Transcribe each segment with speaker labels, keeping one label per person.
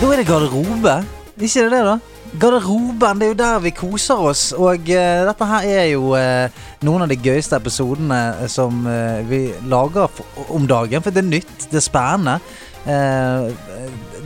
Speaker 1: Da er det garderobe. Ikke det det, da? Garderoben, det er jo der vi koser oss. Og eh, dette her er jo eh, noen av de gøyeste episodene som eh, vi lager for, om dagen. For det er nytt, det er spennende. Eh,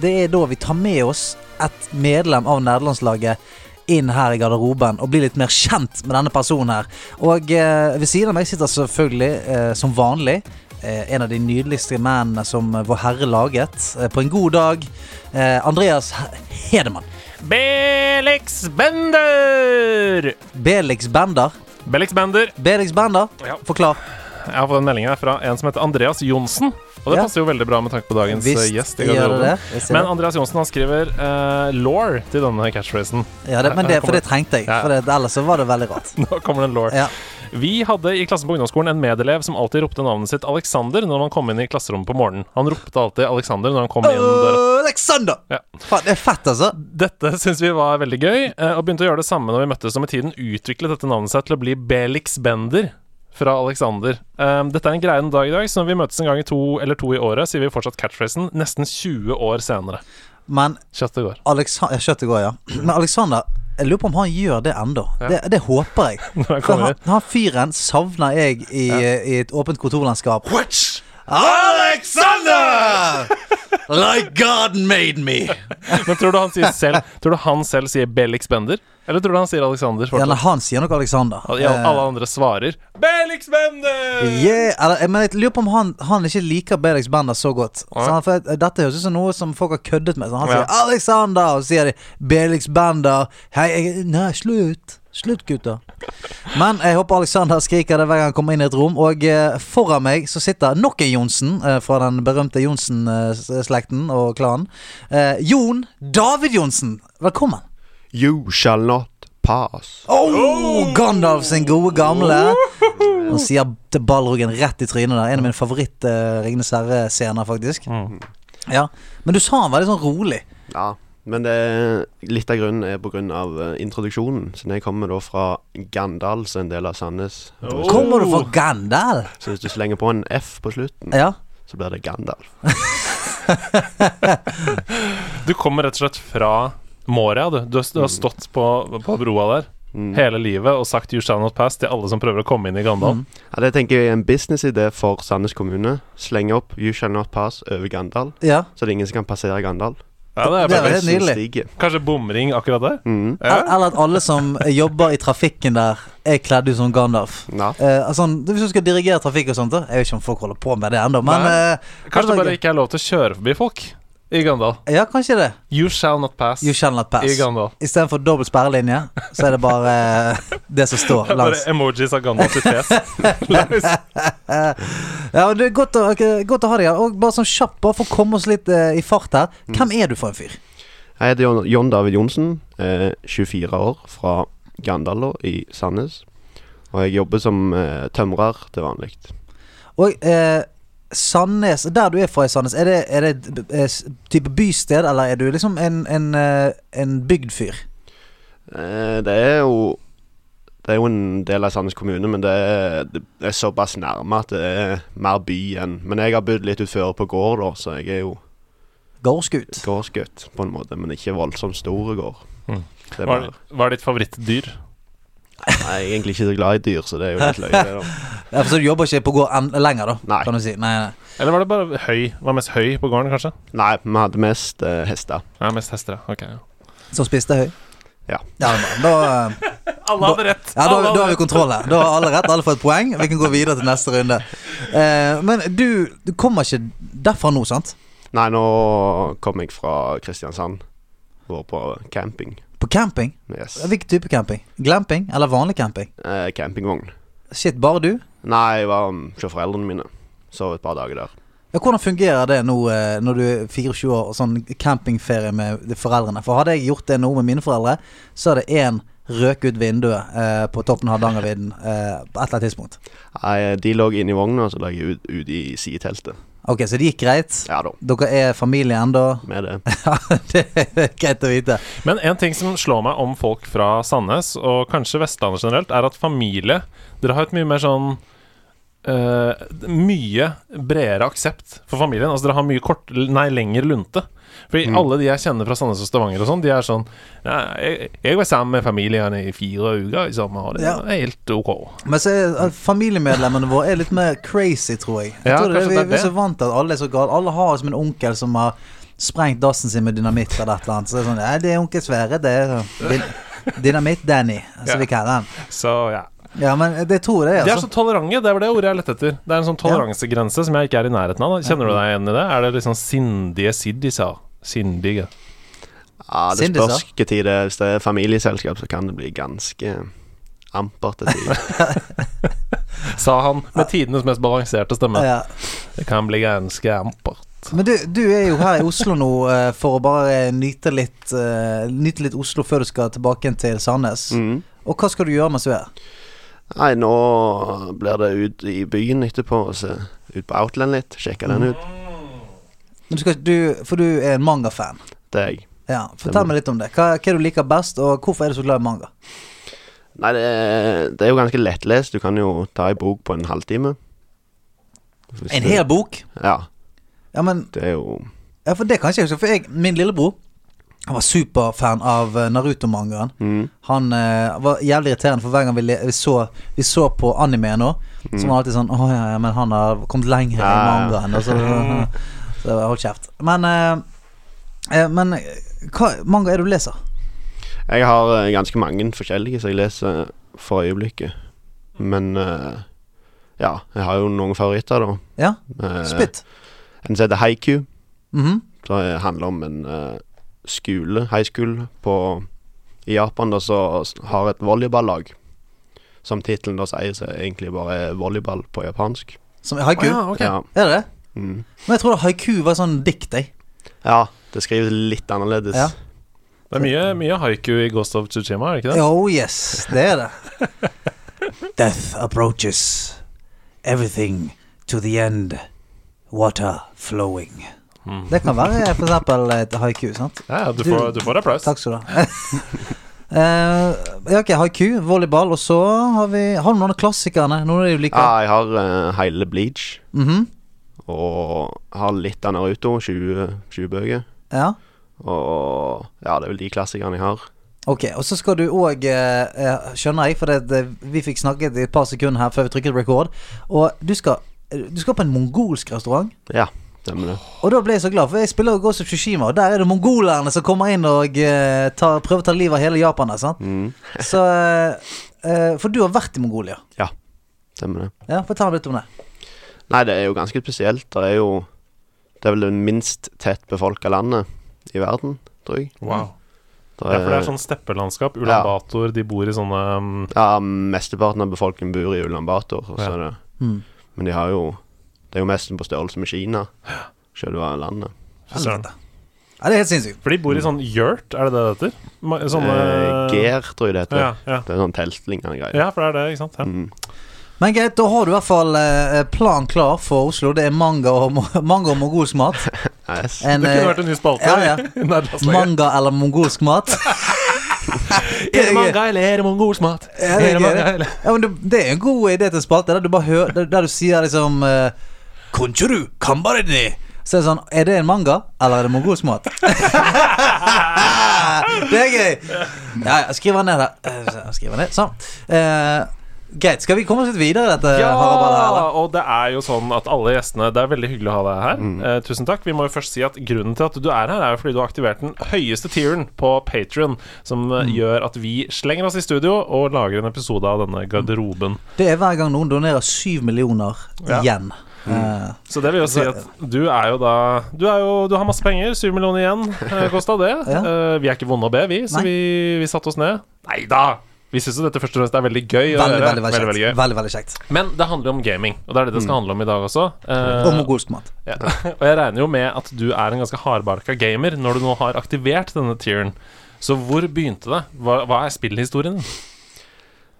Speaker 1: det er da vi tar med oss et medlem av nederlandslaget inn her i garderoben og blir litt mer kjent med denne personen her. Og eh, ved siden av meg sitter selvfølgelig, eh, som vanlig, eh, en av de nydeligste mennene som eh, Vår Herre laget eh, på en god dag. Eh, Andreas He- Hedemann.
Speaker 2: Belix Bender!
Speaker 1: Belix Bender.
Speaker 2: Belix Bender.
Speaker 1: Belix Bender,
Speaker 2: Ja.
Speaker 1: forklar.
Speaker 2: Jeg har fått en melding her fra en som heter Andreas Johnsen. Og det
Speaker 1: Ja.
Speaker 2: passer jo veldig bra med tanke på dagens eh, gjest. i
Speaker 1: gjør det
Speaker 2: garderoben.
Speaker 1: det. Jeg ser
Speaker 2: Men
Speaker 1: det.
Speaker 2: Andreas Johnsen han skriver eh, law til denne catchphrasen.
Speaker 1: Ja, det, men
Speaker 2: her
Speaker 1: det, for
Speaker 2: kommer-
Speaker 1: det trengte jeg.
Speaker 2: Ja.
Speaker 1: For det, ellers så var det veldig rart.
Speaker 2: Nå kommer det en law.
Speaker 1: Ja.
Speaker 2: Vi hadde i klassen på ungdomsskolen en medelev som alltid ropte navnet sitt Alexander når man kom inn i klasserommet på morgenen. Han ropte alltid Alexander når han kom inn døra.
Speaker 1: Alexander!
Speaker 2: Ja.
Speaker 1: Faen, det er fett, altså.
Speaker 2: Dette syns vi var veldig gøy, eh, og begynte å gjøre det samme når vi møttes, og med tiden utviklet dette navnet seg til å bli Belix Bender fra Alexander. Eh, dette er en greie en dag i dag, så når vi møtes en gang i to eller to i året, sier vi fortsatt catchphrasen nesten 20 år senere.
Speaker 1: Men
Speaker 2: Kjapt det går.
Speaker 1: Alexander Kjøttet går, ja. Men Alexander, jeg lurer på om han gjør det ennå. Det, det håper jeg.
Speaker 2: han
Speaker 1: For
Speaker 2: kommer.
Speaker 1: han, han fyren savner jeg i, i et åpent kontorlandskap. Alexander! Like God made me.
Speaker 2: Men tror du han, sier selv, tror du han selv sier Belix Bender, eller tror du han sier Alexander
Speaker 1: Ja, nei,
Speaker 2: fortsatt?
Speaker 1: han sier nok Alexander.
Speaker 2: Al- ja, alle andre svarer Belix Bender!
Speaker 1: Eh, yeah, eller, men jeg lurer på om han, han ikke liker Belix Bender så godt. Så han, for dette høres ut som noe som folk har køddet med. Så han
Speaker 2: Ja.
Speaker 1: sier 'Alexander', og så sier de 'Belix Bender'. Hei, jeg, nei, slutt. Slutt, gutter. Men jeg håper Alexander skriker det hver gang han kommer inn i et rom. Og eh, foran meg så sitter nok en Johnsen eh, fra den berømte Johnsen-slekten og klanen. Eh, Jon David Johnsen, velkommen.
Speaker 3: You shall not pass.
Speaker 1: Oh, Gandalf sin gode gamle.
Speaker 2: Oh.
Speaker 1: Han sier til Balrogen rett i trynet der. En av mine favoritt uh, Ringenes herre-scener, faktisk.
Speaker 2: Mm.
Speaker 1: Ja, Men du sa han var litt sånn rolig.
Speaker 3: Ja, men det er litt av grunnen er på grunn av eh, introduksjonen. Siden jeg kommer da fra Gandal, som er en del av Sandnes.
Speaker 2: Oh.
Speaker 1: Kommer du fra Gandal?
Speaker 3: Så hvis du slenger på en F på slutten,
Speaker 1: Ja.
Speaker 3: så blir det Gandalf.
Speaker 2: Du kommer rett og slett fra Moria, du. Du har, du har stått på, på broa der hele livet og sagt 'You shall not pass' til alle som prøver å komme inn i Gandal.
Speaker 3: Ja, det tenker jeg er en businessidé for Sandnes kommune. Slenge opp You shall not pass over Gandal,
Speaker 1: ja.
Speaker 3: så det er ingen som kan passere Gandal.
Speaker 2: Ja, det er
Speaker 1: Det er
Speaker 2: perfekt.
Speaker 1: helt nydelig.
Speaker 3: Stiger.
Speaker 2: Kanskje bomring akkurat der?
Speaker 3: Mm.
Speaker 2: Ja.
Speaker 1: Eller at alle som jobber i trafikken der, er kledd ut som Gandalf.
Speaker 3: Ja.
Speaker 1: Eh, altså, hvis du skal dirigere trafikk og sånt da. Jeg vet ikke om folk holder på med det ennå, men
Speaker 2: Nei.
Speaker 1: eh,
Speaker 2: Kanskje det
Speaker 1: var
Speaker 2: bare
Speaker 1: gøy.
Speaker 2: ikke er lov til å kjøre forbi folk i Gandal.
Speaker 1: eh, Ja, kanskje det.
Speaker 2: You shall not pass
Speaker 1: You shall not
Speaker 2: i
Speaker 1: pass.
Speaker 2: Gandal.
Speaker 1: Istedenfor dobbelt sperrelinje, så er det bare eh, det som
Speaker 2: Det
Speaker 1: står
Speaker 2: er bare
Speaker 1: langs.
Speaker 2: emojis av Gandal sitt fjes. Langs.
Speaker 1: Eh, Ja, men det er godt å, ok, godt å ha deg her. Og bare sånn kjapt, bare for å komme oss litt eh, i fart her. Hvem er du for en fyr?
Speaker 3: Jeg heter John, John David Johnsen, eh, 24 år, fra Gandal da, i Sandnes. Og jeg jobber som eh, tømrer til vanlig.
Speaker 1: Og eh, Sandnes, der du er fra i Sandnes, er det, er det et b- eh, s- type bysted, eller er du liksom en, en, eh, en bygd fyr?
Speaker 3: Eh, Det er jo Det er jo en del av Sandnes kommune, men det er, det er såpass nærme at det er mer by enn Men jeg har bodd litt utfor på gård, da, så jeg er jo
Speaker 1: Gårdsgutt?
Speaker 3: gårdsgutt på en måte, men ikke voldsomt store gård.
Speaker 2: Mm.
Speaker 3: Det er
Speaker 2: Hva er
Speaker 3: bare,
Speaker 2: hva er ditt favorittdyr?
Speaker 3: nei, jeg er egentlig ikke så glad i dyr, så det er jo litt løye. det da.
Speaker 1: Ja, for så du jobber ikke på gård en, lenger, da?
Speaker 3: Nei.
Speaker 1: Kan du si. Nei, nei.
Speaker 2: Eller var det bare høy? Var mest høy på gården, kanskje?
Speaker 3: Nei, vi hadde mest eh, hester.
Speaker 2: Ja, mest hester, ja. Ok. ja.
Speaker 1: Som spiste høy?
Speaker 3: Ja.
Speaker 1: Ja, men da, eh,
Speaker 2: Alle hadde rett!
Speaker 1: ja, da,
Speaker 2: Alle hadde
Speaker 1: da har vi
Speaker 2: rett.
Speaker 1: kontroll her. Da har alle rett, alle får et poeng. Vi kan gå videre til neste runde. Eh, men du, du kommer ikke derfra nå, sant?
Speaker 3: Nei, nå kom jeg fra Kristiansand. Var på camping.
Speaker 1: På camping?
Speaker 3: Yes.
Speaker 1: Hvilken type camping? Glamping eller vanlig camping?
Speaker 3: Eh, campingvogn.
Speaker 1: Shit, bare du?
Speaker 3: Nei, jeg var um, hos foreldrene mine. Sov et par dager der.
Speaker 1: Ja, Hvordan fungerer det nå eh, når du er 24 år og sånn campingferie med de foreldrene? For hadde jeg gjort det nå med mine foreldre, så hadde én røk ut vinduet eh, på toppen av Hardangervidda eh, på et eller annet tidspunkt.
Speaker 3: Nei, de lå inne i vogna, og så lå jeg ute ut ute i sideteltet.
Speaker 1: Ok, så det gikk greit?
Speaker 3: Ja da,
Speaker 1: Dere er familie ennå?
Speaker 3: med det.
Speaker 1: Ja, det er greit å vite.
Speaker 2: Men en ting som slår meg om folk fra Sandnes, og kanskje Vestlandet generelt, er at familie Dere har et mye mer sånn eh, Mye bredere aksept for familien. Altså Dere har mye kort, nei, lengre lunte. Fordi
Speaker 3: Mm.
Speaker 2: alle de jeg kjenner fra Sandnes og Stavanger og sånn, de er sånn ja, jeg, 'Jeg var sammen med familien i fire uker i sommer, og det
Speaker 1: Ja.
Speaker 2: er helt ok'.
Speaker 1: Men så er at familiemedlemmene våre er litt mer crazy, tror jeg. jeg
Speaker 2: Ja,
Speaker 1: tror det, er-
Speaker 2: kanskje
Speaker 1: vi,
Speaker 2: det er
Speaker 1: vi er så
Speaker 2: det.
Speaker 1: vant til at alle er så gale. Alle har som en onkel som har sprengt dassen sin med dynamitt eller et eller annet. Så det er sånn Ja, det er onkel Sverre, det er sånn, din- Dynamitt-Danny, som
Speaker 2: Ja.
Speaker 1: vi kaller han.
Speaker 2: Så ja.
Speaker 1: Ja, men det tror jeg,
Speaker 2: De er
Speaker 1: altså.
Speaker 2: så tolerante. Det var det ordet jeg lette etter. Det er en sånn toleransegrense som jeg ikke er i nærheten av. da. Kjenner du deg igjen i det? Er det liksom sindige siddiser? Sindige.
Speaker 3: Ja, det
Speaker 1: Sindis,
Speaker 3: spørs hva tid det er. Hvis det er familieselskap, så kan det bli ganske ampert til tider.
Speaker 2: Sa han med tidenes mest balanserte stemme.
Speaker 1: Ja.
Speaker 2: Det kan bli ganske ampert.
Speaker 1: Men du, du er jo her i Oslo nå eh, for å bare nyte litt, eh, nyte litt Oslo før du skal tilbake igjen til Sandnes.
Speaker 3: Mm.
Speaker 1: Og hva skal du gjøre mens du er her?
Speaker 3: Nei, nå blir det ut i byen etterpå, og så ut på Outland litt. Sjekke den ut.
Speaker 1: Men du skal, ikke- du, for du er en mangafan.
Speaker 3: Det er jeg.
Speaker 1: Ja, fortell meg litt om det. Hva, hva er det du liker best, og hvorfor er du så glad i manga?
Speaker 3: Nei, det er, det er jo ganske lettlest. Du kan jo ta ei bok på en halvtime. Hvis
Speaker 1: En
Speaker 3: du-
Speaker 1: hel bok?
Speaker 3: Ja,
Speaker 1: Ja, men
Speaker 3: det er jo
Speaker 1: ja, for det kan ikke jeg huske. For jeg, min lillebror han var superfan av eh, Naruto-mangaen.
Speaker 3: mm.
Speaker 1: Han eh, var jævlig irriterende, for hver gang vi, le- vi, så, vi så på anime nå, så var han alltid sånn Å ja, ja, men han har kommet lenger i
Speaker 3: Ja, ja.
Speaker 1: mangaen. Og så, så jeg bare, hold kjeft. Men, eh, eh, men hva manga er det du leser?
Speaker 3: Jeg har eh, ganske mange forskjellige som jeg leser for øyeblikket. Men eh, ja, jeg har jo noen favoritter, da.
Speaker 1: Ja,
Speaker 3: Eh,
Speaker 1: spytt.
Speaker 3: En som heter Haiku,
Speaker 1: Mhm.
Speaker 3: som eh, handler om en eh, skole, high school, på, i Japan, da, som s- har et volleyballag. Som tittelen da sier, så er det egentlig bare volleyball på japansk.
Speaker 1: Som haiku?
Speaker 2: Å ja, ok.
Speaker 3: Ja,
Speaker 1: Er det det?
Speaker 3: mm.
Speaker 1: Men jeg trodde haiku var sånn dikt, jeg.
Speaker 3: ja, det skrives litt annerledes.
Speaker 1: Ja.
Speaker 2: Det er mye, mye haiku i Ghost of Tsushima, er det ikke det?
Speaker 1: Oh yes, det er det. Death approaches. Everything to the end. Water flowing.
Speaker 2: Mm.
Speaker 1: Det kan være for eksempel et haiku, sant?
Speaker 2: Ja, ja, du, får, du får applaus.
Speaker 1: Takk skal du ha. Eh, ja, ok, haiku, volleyball, og så har vi Har du noen av klassikerne? Noen av de du liker?
Speaker 3: Ja, jeg har eh, hele Bleach,
Speaker 1: Mhm,
Speaker 3: og har litt av Naruto, 20, 20 bøker.
Speaker 1: Ja.
Speaker 3: Og ja, det er vel de klassikerne jeg har.
Speaker 1: Ok, og så skal du òg Skjønner jeg, for det, det, vi fikk snakket i et par sekunder her før vi trykket record. Og du skal, du skal på en mongolsk restaurant.
Speaker 3: Ja, stemmer det.
Speaker 1: Og da ble jeg så glad, for jeg spiller jo Ghost of Tsushima, og der er det mongolerne som kommer inn og eh, tar, prøver å ta livet av hele Japan. der, Sant?
Speaker 3: Mm,
Speaker 1: Så, eh, for du har vært i Mongolia.
Speaker 3: stemmer det.
Speaker 1: Ja, Fortell litt om det.
Speaker 3: Nei, det er jo ganske spesielt. Det er jo Det er vel det minst tett befolka landet i verden, tror jeg.
Speaker 2: Wow.
Speaker 3: Det
Speaker 2: Ja, for det er sånn steppelandskap. Ulan
Speaker 3: Ja.
Speaker 2: Bator, de bor i sånne um,
Speaker 3: ja, mesteparten av befolkningen bor i Ulan Bator, og så
Speaker 2: Ja.
Speaker 3: er det
Speaker 1: Mm.
Speaker 3: Men de har jo Det er jo nesten på størrelse med Kina, selve landet.
Speaker 2: fy søren.
Speaker 1: Helvete. Ja, det er helt sinnssykt.
Speaker 2: For de bor i sånn yurt, er det det det heter? Ma- Sånne
Speaker 3: Eh, Ger, tror jeg det heter.
Speaker 2: Sånn, Ja, ja.
Speaker 3: Det er sånn teltlignende greier.
Speaker 2: ja, for det er det, ikke sant? Ja.
Speaker 3: Mm.
Speaker 1: Men greit, da har du i hvert fall eh, planen klar for Oslo. Det er manga og, mo- manga og mongolsk mat.
Speaker 3: Yes.
Speaker 1: En,
Speaker 2: Det kunne
Speaker 1: eh,
Speaker 2: vært en ny spalte.
Speaker 1: ja, ja.
Speaker 2: i nærlandslaget.
Speaker 1: manga eller mongolsk mat.
Speaker 2: Er det manga, eller er det mongolsk mat?
Speaker 1: Ja, det er gøy, det.
Speaker 2: eller?
Speaker 1: Ja, men det, det er en god idé til en spalte der du bare hører Der, der du sier liksom eh, Konchuru, kambarene Så er det sånn Er det en manga, eller er det mongolsk mat? det er gøy! Ja, ja, skriv den ned, da. Eh, så, Skriv den ned. Sånn. Eh, greit. Skal vi komme oss litt videre i dette? Haraballa,
Speaker 2: Ja!
Speaker 1: eller?
Speaker 2: Og det er jo sånn at alle gjestene Det er veldig hyggelig å ha deg her.
Speaker 1: Mm.
Speaker 2: Eh, tusen takk. Vi må jo først si at grunnen til at du er her, er jo fordi du har aktivert den høyeste tieren på Patrion, som eh,
Speaker 1: Mm.
Speaker 2: gjør at vi slenger oss i studio og lager en episode av denne garderoben.
Speaker 1: Det er hver gang noen donerer syv millioner
Speaker 2: Ja. Mm.
Speaker 1: igjen. Eh,
Speaker 2: Så det vil jo si at du er jo da Du, er jo, du har masse penger. Syv millioner igjen eh, kosta det.
Speaker 1: Ja.
Speaker 2: Eh, vi er ikke vonde å be, vi, så
Speaker 1: Nei.
Speaker 2: vi, vi satte oss ned. Nei da! Vi syns jo dette først og fremst er veldig gøy. å
Speaker 1: veldig,
Speaker 2: gjøre.
Speaker 1: veldig, veldig,
Speaker 2: veldig
Speaker 1: kjekt.
Speaker 2: gøy.
Speaker 1: Veldig, veldig kjekt.
Speaker 2: Men det handler om gaming, og det er det det skal handle om i dag også. Eh,
Speaker 1: Og mongolsk mat.
Speaker 2: Ja. Og jeg regner jo med at du er en ganske hardbarka gamer når du nå har aktivert denne tieren. Så hvor begynte det? Hva, hva er spillhistorien?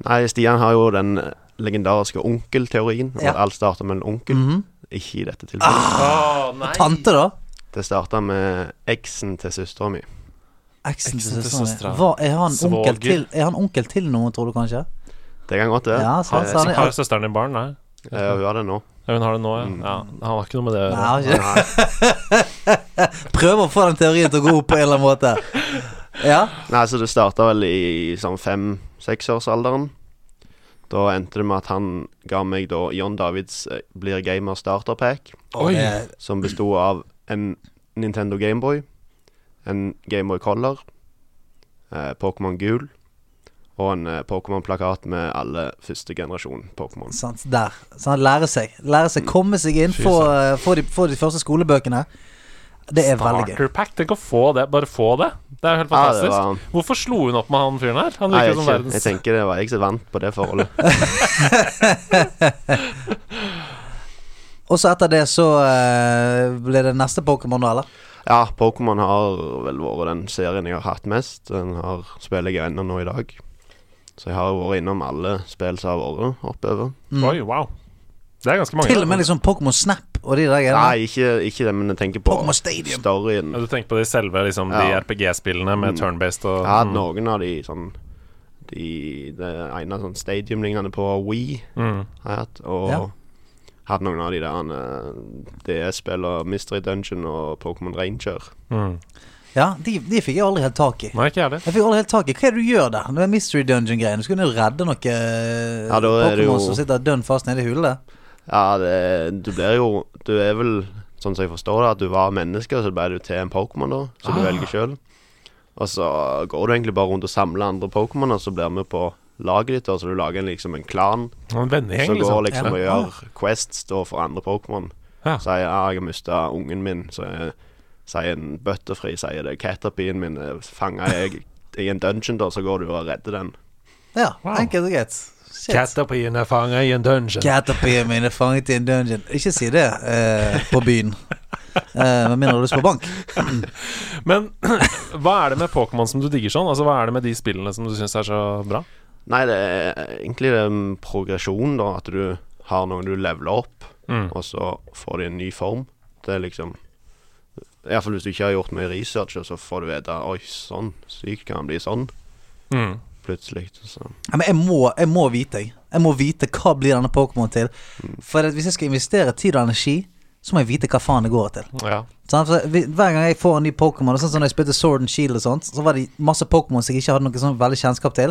Speaker 3: Nei, Stian har jo den legendariske onkelteorien.
Speaker 1: Ja.
Speaker 3: Ja. Alt starter med en onkel.
Speaker 1: Mhm.
Speaker 3: Ikke i dette tilfellet. Ah,
Speaker 2: Å, nei.
Speaker 1: Tante, da?
Speaker 3: Det starta med eksen til søstera mi.
Speaker 1: Eksen til
Speaker 2: Eksen til
Speaker 1: søstera
Speaker 2: søstera.
Speaker 1: mi. Hva- Er han
Speaker 2: Svoger.
Speaker 1: onkel til Er han onkel til noen, tror du kanskje?
Speaker 3: Det kan godt være.
Speaker 1: Ja, så-
Speaker 2: Han
Speaker 1: så
Speaker 2: som
Speaker 1: han er-
Speaker 2: har søsteren din barn, nei?
Speaker 3: Eh, Hun har det nå.
Speaker 2: Ja, Hun har det nå, ja.
Speaker 3: Mm.
Speaker 2: ja. Han har ikke noe med det å
Speaker 1: Nei,
Speaker 2: gjøre.
Speaker 1: han har ikke
Speaker 3: Nei,
Speaker 1: det. Prøver å få den teorien til å gå opp på en eller annen måte. Ja?
Speaker 3: Nei, så det starta vel i sånn fem-seksårsalderen. Da endte det med at han ga meg da John Davids eh, Blir Gamer Starter Pack,
Speaker 2: Oi.
Speaker 1: Eh,
Speaker 3: som besto av en Nintendo Gameboy, en Gameboy Color, eh, Pokémon Gul og en eh, Pokémon-plakat med alle første generasjon Pokémon.
Speaker 1: sant, der. Så han lærer seg. Lærer seg, Komme seg inn,
Speaker 2: Fy
Speaker 1: få, eh, få, de, få de første skolebøkene. Det er veldig gøy.
Speaker 2: Starter pack. Tenk å få det. Bare få det. Det er helt
Speaker 3: Ja, det
Speaker 2: fantastisk.
Speaker 3: var
Speaker 2: Hvorfor slo hun opp med han fyren her? Han
Speaker 3: Nei,
Speaker 2: virker
Speaker 3: jeg,
Speaker 2: som
Speaker 3: ikke, jeg
Speaker 2: verdens
Speaker 3: tenker det var jeg som vant på det forholdet.
Speaker 1: Og så etter det så eh, ble det neste Pokémon, da, eller?
Speaker 3: Ja, Pokémon har vel vært den serien jeg har hatt mest. Den har spiller jeg ennå nå i dag. Så jeg har vært innom alle spill som har vært oppover.
Speaker 1: Mm.
Speaker 2: Oi, wow. Det er ganske mange.
Speaker 1: Til og med liksom Pokémon Snap og de der greiene.
Speaker 3: Nei, ikke, ikke det, men jeg tenker på
Speaker 1: Pokémon Stadium.
Speaker 3: storyen.
Speaker 2: Ja, Du tenker på de selve liksom, de
Speaker 3: Ja.
Speaker 2: RPG-spillene med
Speaker 3: Mm.
Speaker 2: turn-based og
Speaker 3: Jeg har hatt noen av de sånn de, Det ene sånn stadium-lignende på Wii
Speaker 2: Mm.
Speaker 3: har jeg hatt. Og
Speaker 1: Ja.
Speaker 3: hatt noen av de der eh, DS-spillene Mystery Dungeon og Pokémon Ranger.
Speaker 2: Mm.
Speaker 1: Ja, de, de fikk jeg aldri helt tak i.
Speaker 2: Nei, ikke jeg det.
Speaker 1: Jeg fikk aldri helt tak i Hva er det du gjør der? Det er Mystery Dungeon-greiene. Du skulle jo redde noen
Speaker 3: Ja, da er det jo-
Speaker 1: Pokémon som sitter dønn fast nede i hullet.
Speaker 3: Ja, det, du blir jo Du er vel, sånn som jeg forstår det, at du var menneske, og så ble du til en Pokémon, da, som du
Speaker 2: Ah.
Speaker 3: velger sjøl. Og så går du egentlig bare rundt og samler andre Pokémon, og så blir vi på laget ditt, og så du lager en, liksom en klan
Speaker 2: En vennegjeng,
Speaker 3: som går
Speaker 2: liksom.
Speaker 3: liksom
Speaker 1: Ja.
Speaker 3: og gjør quests da for andre Pokémon.
Speaker 2: Ja.
Speaker 3: Sier ja, jeg har mista ungen min, så jeg- sier en butterfree, sier det caterpien min er fanga i i en dungeon, da, så går du og redder den.
Speaker 1: Ja,
Speaker 2: Wow.
Speaker 1: enkelt og greit. Shit.
Speaker 2: Caterpien er fanga i en dungeon.
Speaker 1: Caterpillaren min er fanget i en dungeon. Ikke si det eh, på byen. Eh, Med mindre du skal på bank.
Speaker 2: Men hva er det med Pokémon som du digger sånn? Altså, Hva er det med de spillene som du syns er så bra?
Speaker 3: Nei, det er egentlig den progresjonen, da, at du har noen du leveler opp.
Speaker 2: Mm.
Speaker 3: og så får de en ny form. Det er liksom Iallfall hvis du ikke har gjort mye research, og så får du vite Oi, sånn sykt kan han bli sånn
Speaker 2: Mm.
Speaker 3: plutselig. Så.
Speaker 1: Ja, Men jeg må, jeg må vite, jeg. Jeg må vite hva blir denne Pokémon til. For at hvis jeg skal investere tid og energi, så må jeg vite hva faen det går til.
Speaker 2: Ja.
Speaker 1: Sant? For vi- hver gang jeg får en ny Pokémon, og sånn som når jeg spilte Sword and Shield og sånt, så var det masse Pokémon som jeg ikke hadde noe sånn veldig kjennskap til.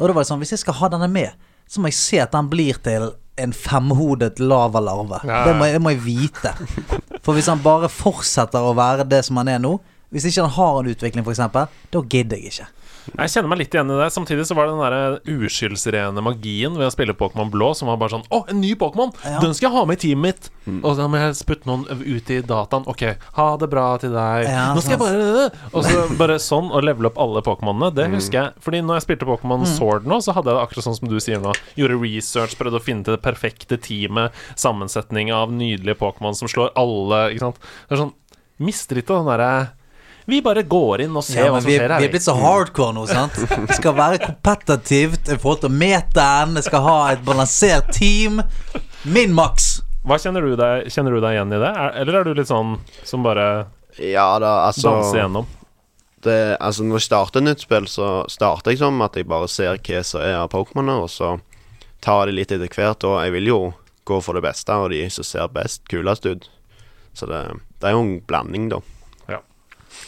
Speaker 1: Og da var det sånn, hvis jeg skal ha denne med, så må jeg se at den blir til en femhodet lavalarve.
Speaker 2: Ja.
Speaker 1: Det, må jeg- det må jeg vite. For hvis han bare fortsetter å være det som han er nå, hvis ikke han har en utvikling f.eks., da gidder jeg ikke.
Speaker 2: Jeg kjenner meg litt igjen i det. Samtidig så var det den der eh, uskyldsrene magien ved å spille Pokémon blå som var bare sånn Å, en ny Pokémon!
Speaker 1: Ja.
Speaker 2: Den skal jeg ha med i teamet mitt! Og da må jeg putte noen ut i dataen. Ok, ha det bra til deg.
Speaker 1: Ja, sånn.
Speaker 2: Nå skal jeg bare Og så bare sånn å levele opp alle Pokémonene. Det husker jeg. Fordi når jeg spilte
Speaker 1: Mm.
Speaker 2: Pokémon Sword nå, så hadde jeg det akkurat sånn som du sier nå. Gjorde research, prøvde å finne til det perfekte teamet, sammensetning av nydelige Pokémon som slår alle, ikke sant. Det er sånn Mister ikke den derre Vi bare går inn og ser
Speaker 1: Ja,
Speaker 2: hva
Speaker 1: men
Speaker 2: som
Speaker 1: vi,
Speaker 2: skjer her.
Speaker 1: vi
Speaker 2: vi.
Speaker 1: er blitt så hardcore nå, sant? Det skal være kompetitivt i forhold til meteren, det skal ha et balansert team. Min maks!
Speaker 2: Hva kjenner du deg, kjenner du deg igjen i det? Er, eller er du litt sånn som bare
Speaker 3: Ja da,
Speaker 2: danser
Speaker 3: altså,
Speaker 2: igjennom?
Speaker 3: det, altså Når jeg starter nytt spill, så starter jeg som at jeg bare ser hva som er av Pokémoner, og så tar jeg de litt etter hvert. Og jeg vil jo gå for det beste, og de som ser best, kulest ut. Så det, det er jo en blanding, da.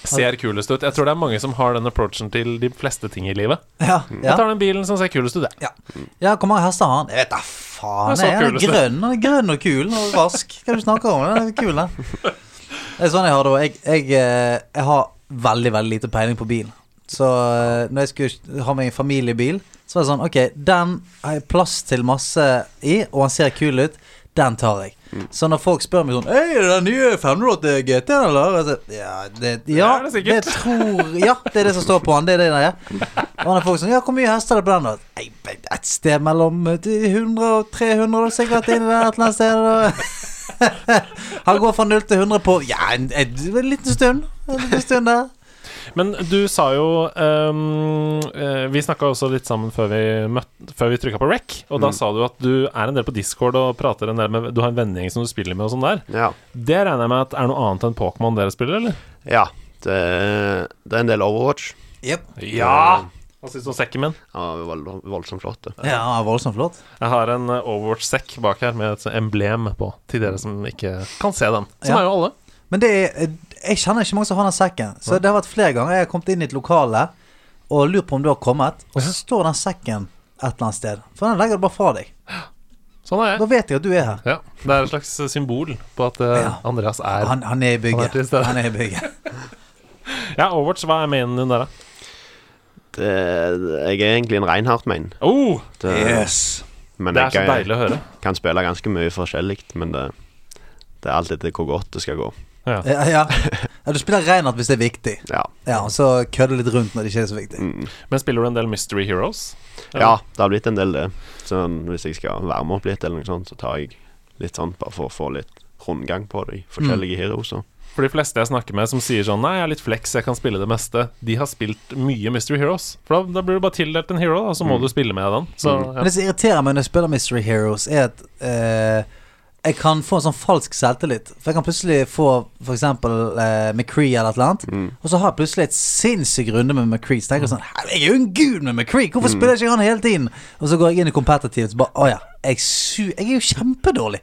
Speaker 2: Ser kulest ut. Jeg tror det er mange som har den approachen til de fleste ting i livet.
Speaker 1: Ja,
Speaker 2: Jeg
Speaker 1: ja.
Speaker 2: tar den bilen som ser kulest ut, jeg.
Speaker 1: ja, hvor mange hester har han? Jeg vet da faen.
Speaker 2: Det er så
Speaker 1: Jeg, han er
Speaker 2: kul, det.
Speaker 1: grønn han er grønn og kul og rask. Hva er det du snakker om? Den er kul, den. Det er sånn jeg har det også. Jeg, jeg, eh, jeg har veldig, veldig lite peiling på bil. Så eh, når jeg skulle ha meg en familiebil, så var det sånn Ok, den har jeg plass til masse i, og han ser kul ut. Den tar jeg.
Speaker 2: Mm.
Speaker 1: Så når folk spør meg sånn Hei, er det den nye 508 GT, eller? Og Jeg sier, ja, det,
Speaker 2: Det
Speaker 1: ja,
Speaker 2: er det
Speaker 1: det,
Speaker 2: sikkert.»
Speaker 1: tror Ja, det er det som står på den. Det er det der. Og når folk sånn Ja, hvor mye hester er det på den? da? «Nei, men Et sted mellom 100 og 300, da, sikkert. Inni der et eller annet sted. da.» Han går fra 0 til 100 på Ja, en, en, en liten stund. En liten stund der.
Speaker 2: Men du sa jo ehm, eh, Vi snakka også litt sammen før vi, møtt- før vi trykka på rec, og da
Speaker 3: Mm.
Speaker 2: sa du at du er en del på Discord og prater en del med Du har en vennegjeng som du spiller med og sånn der.
Speaker 3: Ja.
Speaker 2: Det regner jeg med at er noe annet enn Pokémon dere spiller, eller?
Speaker 3: ja det, er- det er en del Overwatch.
Speaker 1: Yep.
Speaker 3: Ja!
Speaker 2: Eh, Hva syns du om sekken min?
Speaker 3: Ja, vold, voldsomt flott, det.
Speaker 1: Ja, voldsomt flott.
Speaker 2: Jeg har en eh, Overwatch-sekk bak her med et emblem på, til dere som ikke kan se den. Som
Speaker 1: Ja.
Speaker 2: er jo alle.
Speaker 1: Men det er, jeg kjenner ikke mange som har den sekken. Så det har vært flere ganger jeg har kommet inn i et lokale og lurt på om du har kommet, og så står den sekken et eller annet sted. For den legger du bare fra deg.
Speaker 2: Sånn er jeg.
Speaker 1: Da vet jeg at du er her.
Speaker 2: Ja, Det er et slags eh, symbol på at eh,
Speaker 1: Ja.
Speaker 2: Andreas er
Speaker 1: Han, han er i
Speaker 2: Han er til
Speaker 1: bygget.
Speaker 2: stede.
Speaker 1: Han er i bygget.
Speaker 2: Ja, Overwatch, hva er mainen din der, da?
Speaker 3: det jeg er egentlig en Reinhardt-main.
Speaker 2: Oh,
Speaker 3: Det- Men
Speaker 2: det er
Speaker 3: jeg
Speaker 2: så
Speaker 3: kan,
Speaker 2: deilig å høre.
Speaker 3: kan spille ganske mye forskjellig, men det, det er alltid til hvor godt det skal gå.
Speaker 1: Ja, ja. ja du spiller Reinhardt hvis det er viktig.
Speaker 3: Ja.
Speaker 1: Ja, og så kødde litt rundt når det ikke er så viktig.
Speaker 3: Mm.
Speaker 2: Men spiller du en del Mystery Heroes?
Speaker 3: ja, det har blitt en del, det. Sånn, hvis jeg skal varme opp litt, eller noe sånt, så tar jeg litt sånn bare for å få litt rundgang på de
Speaker 2: Mm.
Speaker 3: forskjellige heroeser.
Speaker 2: For de fleste jeg snakker med som sier sånn Nei, jeg er litt flex, jeg kan spille det meste. De har spilt mye Mystery Heroes. For da, da blir du bare tildelt en hero, da, og så
Speaker 3: Mm.
Speaker 2: må du spille med den. Så,
Speaker 1: Men
Speaker 2: ja.
Speaker 1: det som irriterer meg når jeg spiller Mystery Heroes, er at eh, jeg kan få en sånn falsk selvtillit. For jeg kan plutselig få f.eks. Uh, McCree eller et eller annet,
Speaker 2: Mm.
Speaker 1: og så har jeg plutselig et sinnssyk runde med McCree. Så tenker jeg sånn "Hæ, Jeg er jo en gud med McCree!
Speaker 2: Mm.
Speaker 1: Hvorfor spiller jeg ikke han hele tiden? Og så går jeg inn i competitive, så bare Å ja, jeg, su jeg er jo kjempedårlig.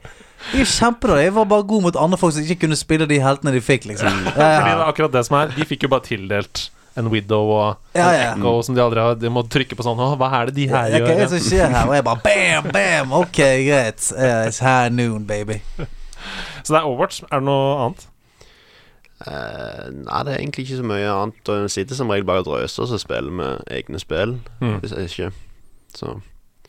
Speaker 1: Jeg er jo kjempedårlig. Jeg var bare god mot andre folk som ikke kunne spille de heltene de fikk, liksom. Ja,
Speaker 2: Mm. Fordi det
Speaker 1: ja.
Speaker 2: er akkurat det som er. De fikk jo bare tildelt en Widow og
Speaker 1: Ja, ja.
Speaker 2: en Echo som de aldri har De må trykke på sånn Å, hva er det de her
Speaker 1: Ja, Hva er det
Speaker 2: gjør?
Speaker 1: som skjer her? Og jeg bare bam, bam! Ok, greit. Eh, it's high noon, baby.
Speaker 2: Så det er Overwatch. Er det noe annet?
Speaker 3: Eh, nei, det er egentlig ikke så mye annet. Og en sitter som regel bare og drøser og spiller med egne spill.
Speaker 2: Mm.
Speaker 3: Hvis jeg ikke Så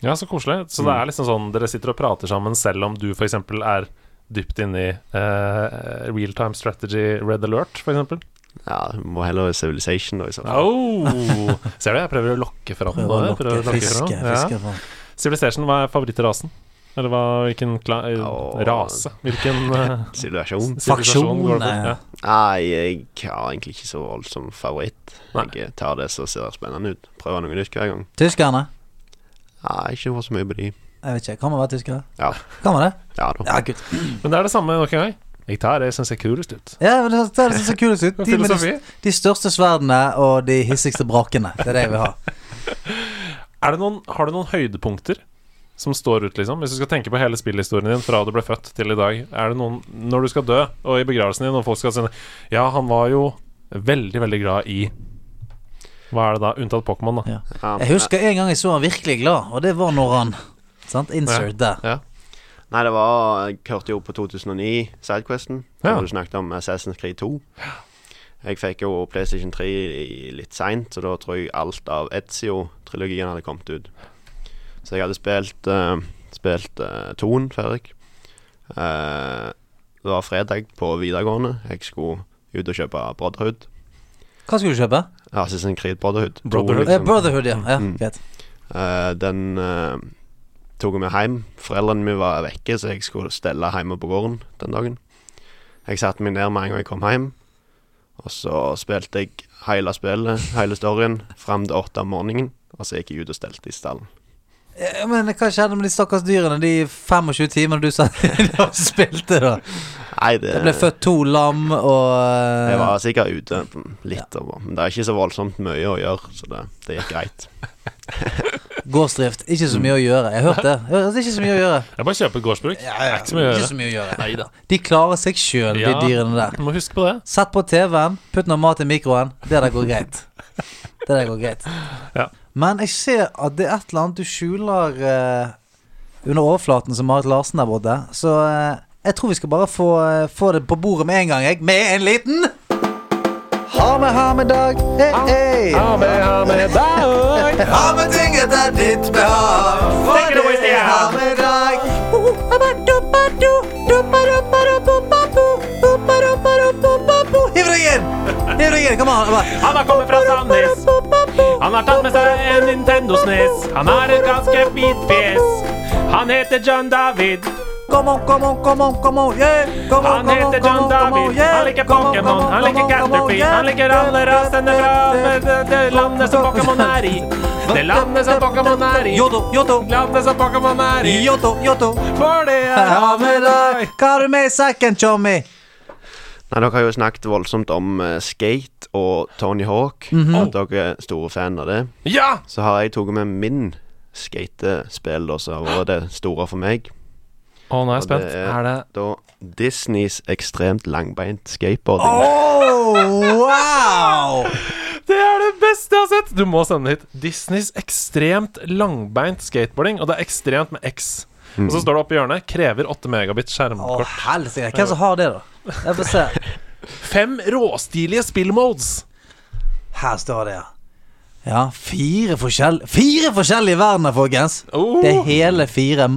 Speaker 2: Ja, så koselig. Så det er liksom sånn dere sitter og prater sammen selv om du f.eks. er dypt inne i eh, real time strategy Red Alert, f.eks.
Speaker 3: ja, må heller Civilization, da, i så fall.
Speaker 2: Oh, ser du, jeg prøver å lokke fram
Speaker 1: Prøver å
Speaker 2: det.
Speaker 1: lokke,
Speaker 2: Prøver å lokke
Speaker 1: fiske,
Speaker 2: fram. Ja.
Speaker 1: fiske fram.
Speaker 2: Civilization, hva er favorittrasen? Eller hva, hvilken kla eh,
Speaker 3: Åh.
Speaker 2: rase? Hvilken eh,
Speaker 3: Situasjon.
Speaker 2: sivilisasjon
Speaker 1: Faksjon,
Speaker 2: går det
Speaker 1: nei,
Speaker 2: for?
Speaker 1: ja.
Speaker 2: Ja.
Speaker 3: Nei, jeg har egentlig ikke så voldsom favoritt.
Speaker 2: Nei.
Speaker 3: Jeg tar det som ser spennende ut. Prøver noe nytt hver gang.
Speaker 1: Tyskerne?
Speaker 3: Nei, ikke fått så mye på de.
Speaker 1: Jeg vet ikke. Kan man være tyskere?
Speaker 3: Ja.
Speaker 1: Kan man det?
Speaker 3: Ja da.
Speaker 1: Ja, gud.
Speaker 2: Men det er det samme nok en gang. Jeg tar det jeg syns ser kulest ut.
Speaker 1: Ja, men det det er det som ser kulest ut. De med de,
Speaker 2: Filosofi.
Speaker 1: de største sverdene og de hissigste brakene. Det er det jeg vil ha.
Speaker 2: Er det noen, har du noen høydepunkter som står ut, liksom? Hvis du skal tenke på hele spillhistorien din fra du ble født til i dag, er det noen Når du skal dø, og i begravelsen din, og folk skal si Ja, han var jo veldig, veldig glad i Hva er det da? Unntatt Pokémon, da.
Speaker 1: Ja.
Speaker 3: Ja,
Speaker 1: Jeg husker en gang jeg så han virkelig glad, og det var når han Sant? Insert der.
Speaker 2: Ja.
Speaker 3: Nei, det var Jeg hørte jo på 2009, Sidequesten,
Speaker 2: Ja.
Speaker 3: da du snakket om Assassin's Creed 2. Jeg fikk jo PlayStation 3 i- litt seint, så da tror jeg alt av Ezio-trilogien hadde kommet ut. Så jeg hadde spilt uh, Spilt eh, Toen ferdig. Eh, det var fredag på videregående. Jeg skulle ut og kjøpe Brotherhood.
Speaker 1: Hva skulle du kjøpe?
Speaker 3: Assassin's Creed Brotherhood. To,
Speaker 2: Brotherhood.
Speaker 1: Eh,
Speaker 3: liksom.
Speaker 1: Brotherhood, ja. ja greit.
Speaker 3: Eh, den eh, tok jeg med hjem. Foreldrene mine var vekke, så jeg skulle stelle hjemme på gården den dagen. Jeg satte meg ned med en gang jeg kom hjem, og så spilte jeg hele spillet, hele storyen, fram til åtte om morgenen. Og så gikk jeg ut og stelte i stallen.
Speaker 1: Eh, Men hva skjedde med de stakkars dyrene de 25 timene du satt inne og spilte, da?
Speaker 3: Nei, det,
Speaker 1: Det ble født eh, to lam og
Speaker 3: Jeg var sikkert ute litt, og- men det er ikke så voldsomt mye å gjøre, så det, det gikk greit.
Speaker 1: eh, Gårdsdrift. Ikke så mye å gjøre. Jeg har hørt det. Jeg har hørt det er ikke så mye å gjøre.
Speaker 2: Jeg bare kjøper gårdsbruk. Det er ikke så mye å
Speaker 1: Ikke
Speaker 2: gjøre.
Speaker 1: så mye å gjøre.
Speaker 2: Neida.
Speaker 1: De klarer seg sjøl,
Speaker 2: Ja.
Speaker 1: de dyrene der.
Speaker 2: Du må huske på det.
Speaker 1: Sett på TV-en, putt noe mat i mikroen. Det der går greit. Det der går greit.
Speaker 2: Ja.
Speaker 1: Men jeg ser at det er et eller annet du skjuler eh, under overflaten som Marit Larsen der borte. Så eh, jeg tror vi skal bare få, eh, få det på bordet med en gang, jeg. Med en liten Ha med, ha med dag. Hey, hey.
Speaker 2: Ha med, ha med deg.
Speaker 1: Ha med ting etter ditt behag.
Speaker 2: Take it away, Stian.
Speaker 1: Ha med dag. Hiv deg inn! Hiv deg inn, kom an. bare.
Speaker 2: Han har kommet fra Sandnes. Han har tatt med seg en E Nintendo-snes. Han har et ganske fint fjes. Han heter John David.
Speaker 1: come on, come on, come on, come on, yeah! Come on,
Speaker 2: Han
Speaker 1: come on,
Speaker 2: heter
Speaker 1: come
Speaker 2: John
Speaker 1: on, come on,
Speaker 2: David,
Speaker 1: yeah!
Speaker 2: han liker
Speaker 1: Come on,
Speaker 2: Pokémon,
Speaker 1: come on,
Speaker 2: han
Speaker 1: come
Speaker 2: liker
Speaker 1: on, come on,
Speaker 2: Caterpie,
Speaker 1: yeah!
Speaker 2: han liker alle rasene fra det- det- det landet som Pokémon er i. Det landet som Pokémon er i.
Speaker 1: Yodo, yodo,
Speaker 2: Landet som Pokémon er i.
Speaker 1: yodo, yodo.
Speaker 2: For det er
Speaker 1: Ha med deg!
Speaker 2: Hamelai.
Speaker 1: Hva har du med i sekken, Tjommi?
Speaker 3: Nei, Dere har jo snakket voldsomt om eh, skate og Tony Hawk.
Speaker 1: Mhm.
Speaker 3: At dere er store fan av det.
Speaker 2: Ja!
Speaker 3: Så har jeg tatt med min skatespill, da, som har vært det store for meg.
Speaker 2: Å, nå er jeg
Speaker 3: Og det
Speaker 2: spent.
Speaker 3: er-
Speaker 2: Er det
Speaker 3: Da Disneys ekstremt langbeint skateboarding.
Speaker 1: Oh, wow!
Speaker 2: Det er det beste jeg har sett! Du må sende hit Disneys ekstremt langbeint skateboarding, og det er ekstremt med X. Og så står det oppe i hjørnet 'krever 8 megabit
Speaker 1: Å,
Speaker 2: skjermkort'.
Speaker 1: helsike. Hvem som har det, da? Jeg får se.
Speaker 2: Fem råstilige spillmodes!
Speaker 1: Her står det, ja. Ja, fire, forskjell fire forskjellige verdener, folkens.
Speaker 2: Oh.
Speaker 1: Det er hele fire.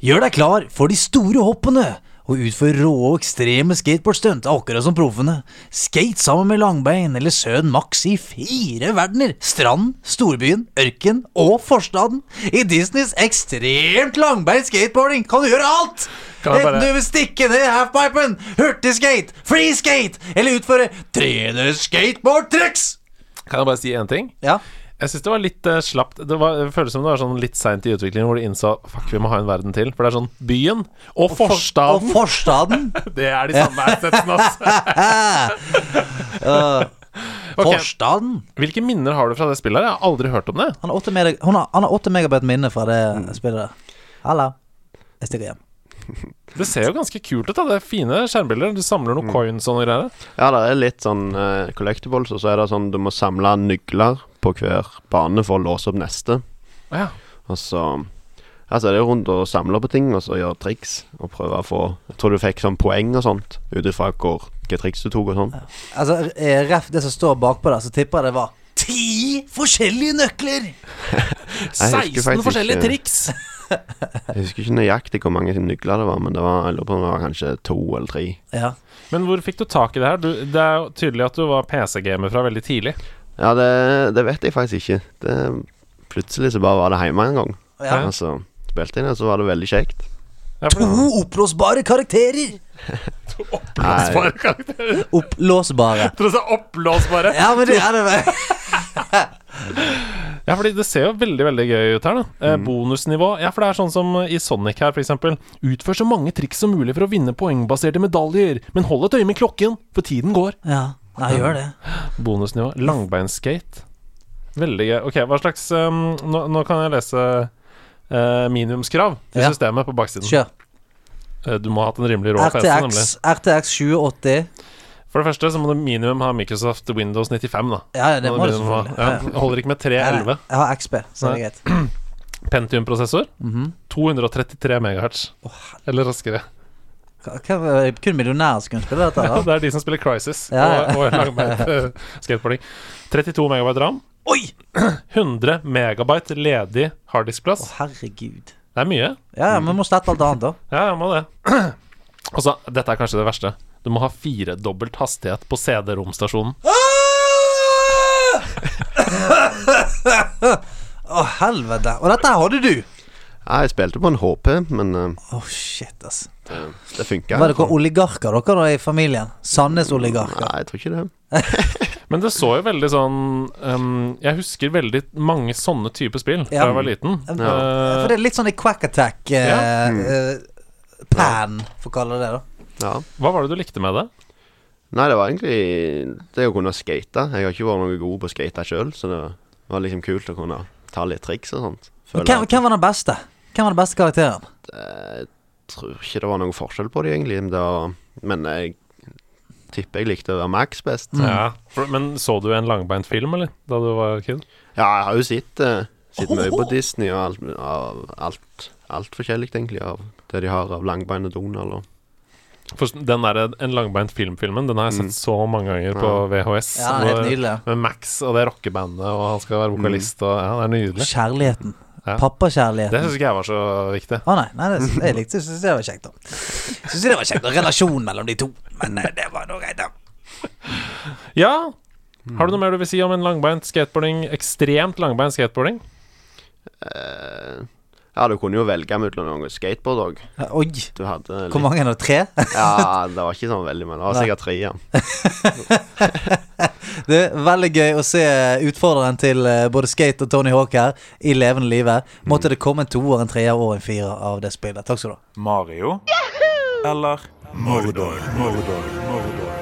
Speaker 1: Gjør deg klar for de store hoppene og utfør rå og ekstreme skateboardstunt, akkurat som proffene. Skate sammen med langbein eller søn Max i fire verdener. Stranden, storbyen, ørken og forstaden. I Disneys ekstremt langbein skateboarding kan du gjøre alt!
Speaker 2: Kan jeg bare-
Speaker 1: Enten du vil stikke ned halfpipen, hurtigskate, freeskate eller utføre 3D-skateboardtriks!
Speaker 2: Kan jeg bare si én ting?
Speaker 1: Ja.
Speaker 2: Jeg syns det var litt eh, slapt. Det, var, det føles som det var sånn litt seint i utviklingen hvor de innså Fuck, vi må ha en verden til. For det er sånn Byen og forstaden,
Speaker 1: Og forstaden.
Speaker 2: det er de samme assetsene, ass. Ok,
Speaker 1: Eh, Forstaden.
Speaker 2: Hvilke minner har du fra det spillet? her? Jeg har aldri hørt om det.
Speaker 1: Han har åtte mega- hun har- han har åtte megabyte minne fra det spillet der. Hallo. Jeg stikker hjem.
Speaker 2: Det ser jo ganske kult ut. da Det er fine skjermbilder. Du samler
Speaker 3: Mm.
Speaker 2: noen coins og noe greier.
Speaker 3: Ja, det er litt sånn eh, collectibles, og så er det sånn du må samle nøkler på hver bane for å låse opp neste.
Speaker 2: Å Ja.
Speaker 3: Og så Altså, det er jo rundt og samle på ting, og så gjøre triks, og prøve å få Jeg tror du fikk sånn poeng og sånt, ut ifra hvor hvilke triks du tok og sånn.
Speaker 1: Altså, eh, ref det som står bakpå der, så tipper jeg det var ti forskjellige nøkler!
Speaker 2: 16
Speaker 3: husker faktisk
Speaker 2: forskjellige
Speaker 3: ikke-
Speaker 2: triks!
Speaker 3: Jeg husker ikke nøyaktig hvor mange nøkler det var, men det var, jeg lurer på om det var kanskje to eller tre.
Speaker 1: Ja.
Speaker 2: Men hvor fikk du tak i det her? Du, det er jo tydelig at du var PC-gamer fra veldig tidlig.
Speaker 3: Ja, det, det vet jeg faktisk ikke. Det, plutselig så bare var det hjemme en gang.
Speaker 1: Ja.
Speaker 3: Og så spilte jeg det, og så var det veldig kjekt.
Speaker 2: Ja, for-
Speaker 1: To oppblåsbare karakterer!
Speaker 3: Nei,
Speaker 1: Opplåsbare.
Speaker 2: Tror du det er opplåsbare?
Speaker 1: Ja, men det er det vel.
Speaker 2: Ja, fordi det ser jo veldig veldig gøy ut her, da. Eh,
Speaker 1: Mm.
Speaker 2: bonusnivå. Ja, for det er sånn som i Sonic her, for eksempel. Utfør så mange triks som mulig for å vinne poengbaserte medaljer, men hold et øye med klokken, for tiden går.
Speaker 1: Ja, jeg gjør det.
Speaker 2: Bonusnivå. Langbeinskate. Veldig gøy. Ok, hva slags um, nå, nå kan jeg lese eh, minimumskrav til
Speaker 1: Ja.
Speaker 2: systemet på baksiden.
Speaker 1: Kjør.
Speaker 2: Eh, du må ha hatt en rimelig rå PC, nemlig.
Speaker 1: RTX, RTX 2080.
Speaker 2: For det første så må du minimum ha Microsoft Windows 95, da.
Speaker 1: Ja, ja, det må du
Speaker 2: begynner med-
Speaker 1: selvfølgelig.
Speaker 2: ja,
Speaker 1: Ja, ja.
Speaker 2: holder ikke med
Speaker 1: Nei, nei,
Speaker 2: 311.
Speaker 1: Jeg har XP, så det er greit.
Speaker 2: Pentium-prosessor.
Speaker 1: Mhm.
Speaker 2: 233 megahertz.
Speaker 1: Å,
Speaker 2: Eller raskere.
Speaker 1: Hva- hva- er det Kun millionærer som kunne spille dette?
Speaker 2: Ja,
Speaker 1: da?
Speaker 2: det er de som spiller Crisis
Speaker 1: Ja, ja.
Speaker 2: og, og langbeint eh, skateboarding. 32 megabyte ram.
Speaker 1: Oi!
Speaker 2: 100 megabyte ledig
Speaker 1: Å,
Speaker 2: harddiskplass.
Speaker 1: herregud.
Speaker 2: Det er mye.
Speaker 1: Ja, ja, men må slette alt annet, da.
Speaker 2: Ja, jeg må det. Og så, dette er kanskje det verste. Du må ha firedobbelt hastighet på CD-romstasjonen.
Speaker 1: Ah! Å, helvete. Og dette her hadde du.
Speaker 3: Ja, jeg spilte på en HP, men eh,
Speaker 1: Å, shit, ass.
Speaker 3: det, det funka.
Speaker 1: Var det noen oligarker dere da i familien? Sandnes-oligarker.
Speaker 3: Nei, jeg tror ikke det.
Speaker 2: Men det så jo veldig sånn ehm, Jeg husker veldig mange sånne type spill da
Speaker 1: Ja.
Speaker 2: jeg var liten.
Speaker 1: For
Speaker 2: Eh,
Speaker 1: det er litt sånn i Quack Attack eh, eh, Pan, for å kalle det det, da.
Speaker 3: Ja.
Speaker 2: hva var det du likte med det?
Speaker 3: Nei, det var egentlig det å kunne skate. Jeg har ikke vært noe god på å skate sjøl, så det var liksom kult å kunne ta litt triks og sånt.
Speaker 1: Men
Speaker 3: Føler
Speaker 1: hvem,
Speaker 3: at
Speaker 1: hvem var den beste? Hvem var den beste karakteren?
Speaker 3: Jeg tror ikke det var noen forskjell på det, egentlig. Men, det var, men jeg tipper jeg likte å være Max best.
Speaker 1: Mm.
Speaker 2: Ja, for, men så du en langbeint film, eller? Da du var kid?
Speaker 3: Ja, jeg har jo sett eh, sett mye på Disney og alt, av alt, alt forskjellig, egentlig, av det de har av langbein og Donald og
Speaker 2: For den der, En langbeint film-filmen Den har jeg sett så mange ganger på VHS.
Speaker 1: Ja, den er helt
Speaker 2: Hvor-
Speaker 1: nydelig.
Speaker 2: Med Max og det rockebandet, og han skal være vokalist, og ja, det er nydelig.
Speaker 1: Kjærligheten.
Speaker 2: Ja. Det
Speaker 1: Pappakjærligheten.
Speaker 2: syns ikke jeg var så viktig.
Speaker 1: Å nei, nei det, jeg likte synes jeg det var kjekt, da. Syns jeg det var kjekt, da. Relasjonen mellom de to. Men eh, det var noe greit, da.
Speaker 2: Ja! Har du noe mer du vil si om en langbeint skateboarding? Ekstremt langbeint skateboarding?
Speaker 3: eh, Ja, du kunne jo velge mellom noe skateboard òg.
Speaker 1: Ja, Oi!
Speaker 3: Du hadde
Speaker 1: Hvor mange er det? Tre?
Speaker 3: Ja, det var ikke sånn veldig, men det var
Speaker 1: Nei.
Speaker 3: sikkert tre, ja.
Speaker 1: Det er veldig gøy å se utfordreren til eh, både Skate og Tony Hawk her i levende livet. Måtte det komme en toer, en treer og en firer av det spillet. Takk skal du ha.
Speaker 4: Mario eller Mordor. Mordor. Mordor. Mordor.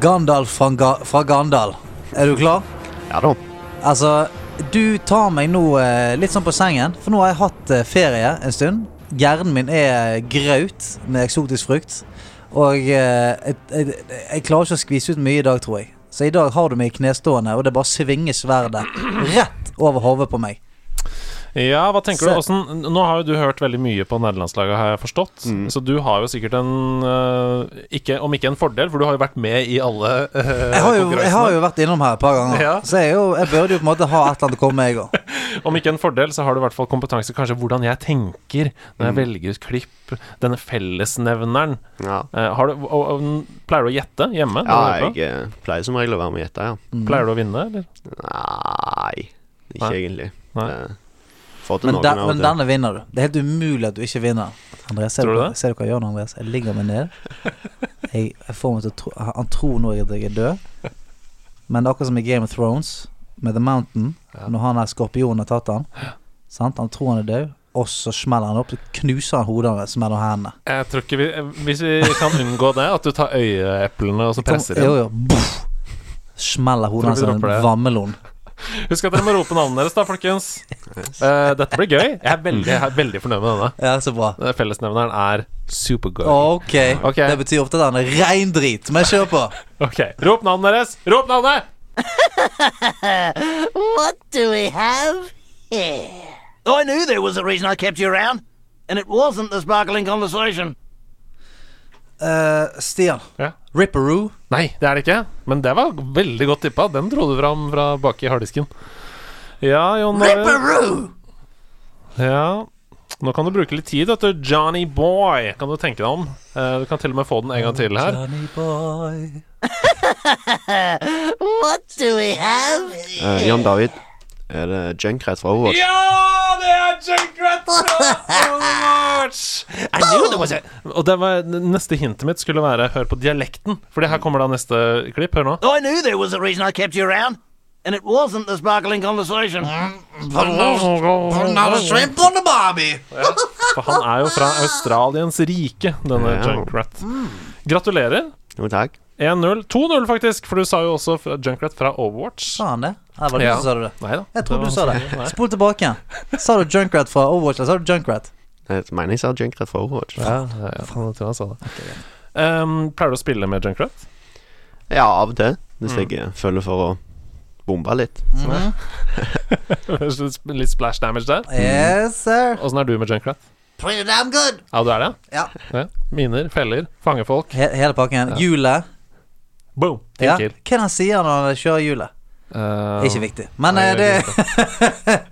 Speaker 1: Gandalf fra, Ga fra Gandal. Er du klar?
Speaker 3: Ja da.
Speaker 1: Altså, du tar meg nå eh, litt sånn på sengen, for nå har jeg hatt eh, ferie en stund. Hjernen min er eh, graut med eksotisk frukt. Og eh, jeg, jeg, jeg klarer ikke å skvise ut mye i dag, tror jeg. Så i dag har du meg i knestående, og det bare svinger sverdet rett over hodet på meg.
Speaker 2: Ja, hva tenker
Speaker 1: Se-
Speaker 2: du? Åssen- nå har jo du hørt veldig mye på nederlandslaget, har jeg forstått. Så du har jo sikkert en eh, ikke, Om ikke en fordel, for du har jo vært med i alle eh,
Speaker 1: Jeg har jo, jeg har
Speaker 2: konkurransene.
Speaker 1: jo vært innom her et par ganger,
Speaker 2: Ja.
Speaker 1: så jeg, er jo, jeg burde jo på en måte ha et eller annet å komme med, jeg òg.
Speaker 2: Om ikke en fordel, så har du i hvert fall kompetanse kanskje hvordan jeg tenker når jeg
Speaker 1: Mm.
Speaker 2: velger ut klipp. Denne fellesnevneren.
Speaker 3: Ja,
Speaker 2: Eh, har du, og, og, pleier du å gjette hjemme?
Speaker 3: ja
Speaker 2: når du er på?
Speaker 3: jeg eh, pleier som regel å være med og gjette, ja.
Speaker 1: Mm.
Speaker 2: Pleier du å vinne, eller?
Speaker 3: Nei, ikke
Speaker 2: Nei.
Speaker 3: egentlig.
Speaker 2: Nei.
Speaker 3: Eh, Får til
Speaker 1: Men,
Speaker 3: noen
Speaker 1: den-
Speaker 3: av og
Speaker 1: men
Speaker 3: til.
Speaker 1: denne vinner du. Det er helt umulig at du ikke vinner. Andreas, ser,
Speaker 2: Tror
Speaker 1: du,
Speaker 2: du
Speaker 1: hva-
Speaker 2: det?
Speaker 1: ser du hva jeg gjør nå, Andreas? Jeg ligger meg ned. Jeg, jeg får meg til å tro, han- han tror nå at jeg er død, men det er akkurat som i Game of Thrones, med The Mountain, når han der skorpionen har tatt han. Sant? Han tror han er død, og så smeller han opp, så knuser han hodet hans mellom hendene.
Speaker 2: Jeg tror ikke vi eh, Hvis vi kan unngå det, at du tar øyeeplene og så
Speaker 1: Kom,
Speaker 2: presser
Speaker 1: jo,
Speaker 2: inn.
Speaker 1: jo, boff. Smeller hodet
Speaker 2: Tror
Speaker 1: hans
Speaker 2: vi
Speaker 1: som en
Speaker 2: dropper det.
Speaker 1: vannmelon.
Speaker 2: Husk at dere må rope navnet deres, da, folkens. Eh, dette blir gøy. Jeg er veldig, jeg er veldig fornøyd med denne.
Speaker 1: Ja, så bra.
Speaker 2: Eh, Fellesnevneren er supergøy.
Speaker 1: Ok,
Speaker 2: Ok.
Speaker 1: det betyr ofte at han er rein drit, men kjør på.
Speaker 2: Ok, Rop navnet deres! Rop navnet!
Speaker 5: What do we have here? I knew there was a reason I kept you around, and it wasn't the sparkling conversation.
Speaker 1: Eh, Stian.
Speaker 2: Ja.
Speaker 1: Ripperoo.
Speaker 2: Nei, det er det ikke. Men det var veldig godt tippa. Den dro du fram fra bak i harddisken. Ja, Jon Marius.
Speaker 1: Ripperoo!
Speaker 2: Ja. Nå kan du bruke litt tid, vet du. Johnny Boy kan du tenke deg om. Eh, Du kan til og med få den en gang til her.
Speaker 1: Johnny boy.
Speaker 5: What do we have?
Speaker 3: Eh, Jan David, er det Junkrat fra Overwatch?
Speaker 2: Ja, det er Junkrat fra Overwatch! I knew there was a- Og det var, neste hintet mitt skulle være hør på dialekten. Fordi her kommer da neste klipp. Hør nå.
Speaker 5: I knew there was a reason I kept you around, and it wasn't the sparkling conversation.
Speaker 1: Another shrimp on the barbie.
Speaker 2: For han er jo fra Australiens rike, denne
Speaker 3: Ja.
Speaker 2: Junkrat. Gratulerer.
Speaker 3: Jo, takk.
Speaker 2: 1-0. 2-0, faktisk, for du sa jo også f- Junkrat fra Overwatch.
Speaker 1: Sa han det? Nei, var det
Speaker 2: Ja.
Speaker 1: du som sa det?
Speaker 2: Nei da.
Speaker 1: Ah. Jeg trodde du sa det.
Speaker 2: Nei.
Speaker 1: Spol tilbake igjen. Sa du Junkrat fra Overwatch, eller sa du Junkrat?
Speaker 3: Jeg mener jeg sa Junkrat fra Overwatch.
Speaker 2: Ja, ja, ja. Faen, jeg tror han sa det. Um, pleier du å spille med Junkrat?
Speaker 3: Ja, av og til. Hvis
Speaker 2: Mm.
Speaker 3: jeg eh, føler for å bombe litt.
Speaker 2: Litt splash damage der?
Speaker 1: Yes, sir.
Speaker 2: Åssen er du med Junkrat?
Speaker 1: Pretty damn good.
Speaker 2: Ja, du er det?
Speaker 1: Ja.
Speaker 2: Miner, feller, fange folk.
Speaker 1: He hele pakken. Hjulet.
Speaker 2: Boom!
Speaker 1: Ja.
Speaker 2: Tenker.
Speaker 1: Hva er det han sier når han kjører hjulet?
Speaker 2: Eh,
Speaker 1: Ikke viktig. Men
Speaker 2: Nei,
Speaker 1: eh, det
Speaker 2: det er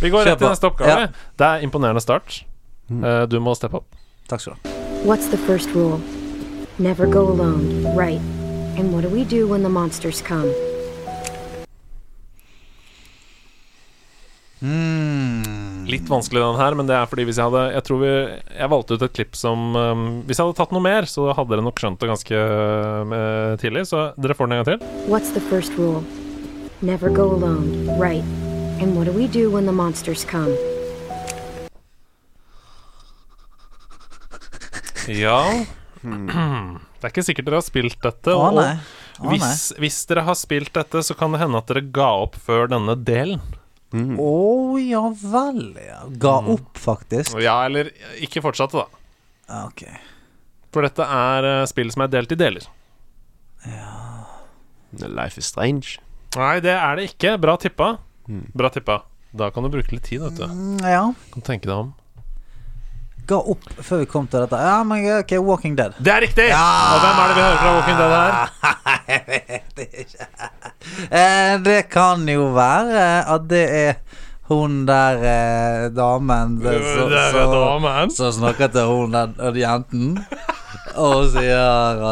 Speaker 2: vi går
Speaker 1: Kjør
Speaker 2: rett til
Speaker 1: på. Mm.
Speaker 2: neste oppgave. Det er imponerende start. Eh, du må steppe opp.
Speaker 1: Takk skal du ha.
Speaker 6: What's the first rule? Never go alone, right? And what do we do when the monsters come?
Speaker 2: Litt vanskelig den her, men det er fordi hvis jeg hadde Jeg tror vi Jeg valgte ut et klipp som eh, Hvis jeg hadde tatt noe mer, så hadde dere nok skjønt det ganske eh, tidlig. Så dere får den en gang til.
Speaker 6: What's the first rule? Never go alone, right? And what do we do when the monsters come?
Speaker 2: Ja. Hmm. Det er ikke sikkert dere har spilt dette.
Speaker 1: Å
Speaker 2: og-
Speaker 1: nei. Å nei.
Speaker 2: Hvis, hvis dere har spilt dette, så kan det hende at dere ga opp før denne delen. Mm.
Speaker 1: Å ja vel, ja. Ga opp, faktisk. Ah,
Speaker 2: Ja, eller ikke fortsatte, da.
Speaker 1: Ok.
Speaker 2: For dette er eh, spill som er delt i deler. Mm.
Speaker 3: Life is strange.
Speaker 2: Nei, det er det ikke. Bra tippa. Bra tippa. Da kan du bruke litt tid, vet du.
Speaker 1: Mm, Ja.
Speaker 2: Kan tenke deg om.
Speaker 1: Ga opp før vi kom til dette. Ja, men ok, Walking Dead.
Speaker 2: Det er riktig! Og hvem er det vi hører fra Walking Dead her?
Speaker 1: Eh, det kan jo være at det er hun der eh, damen det- så-
Speaker 2: Det er
Speaker 1: så-
Speaker 2: damen.
Speaker 1: Som snakker til hun der og jenten og sier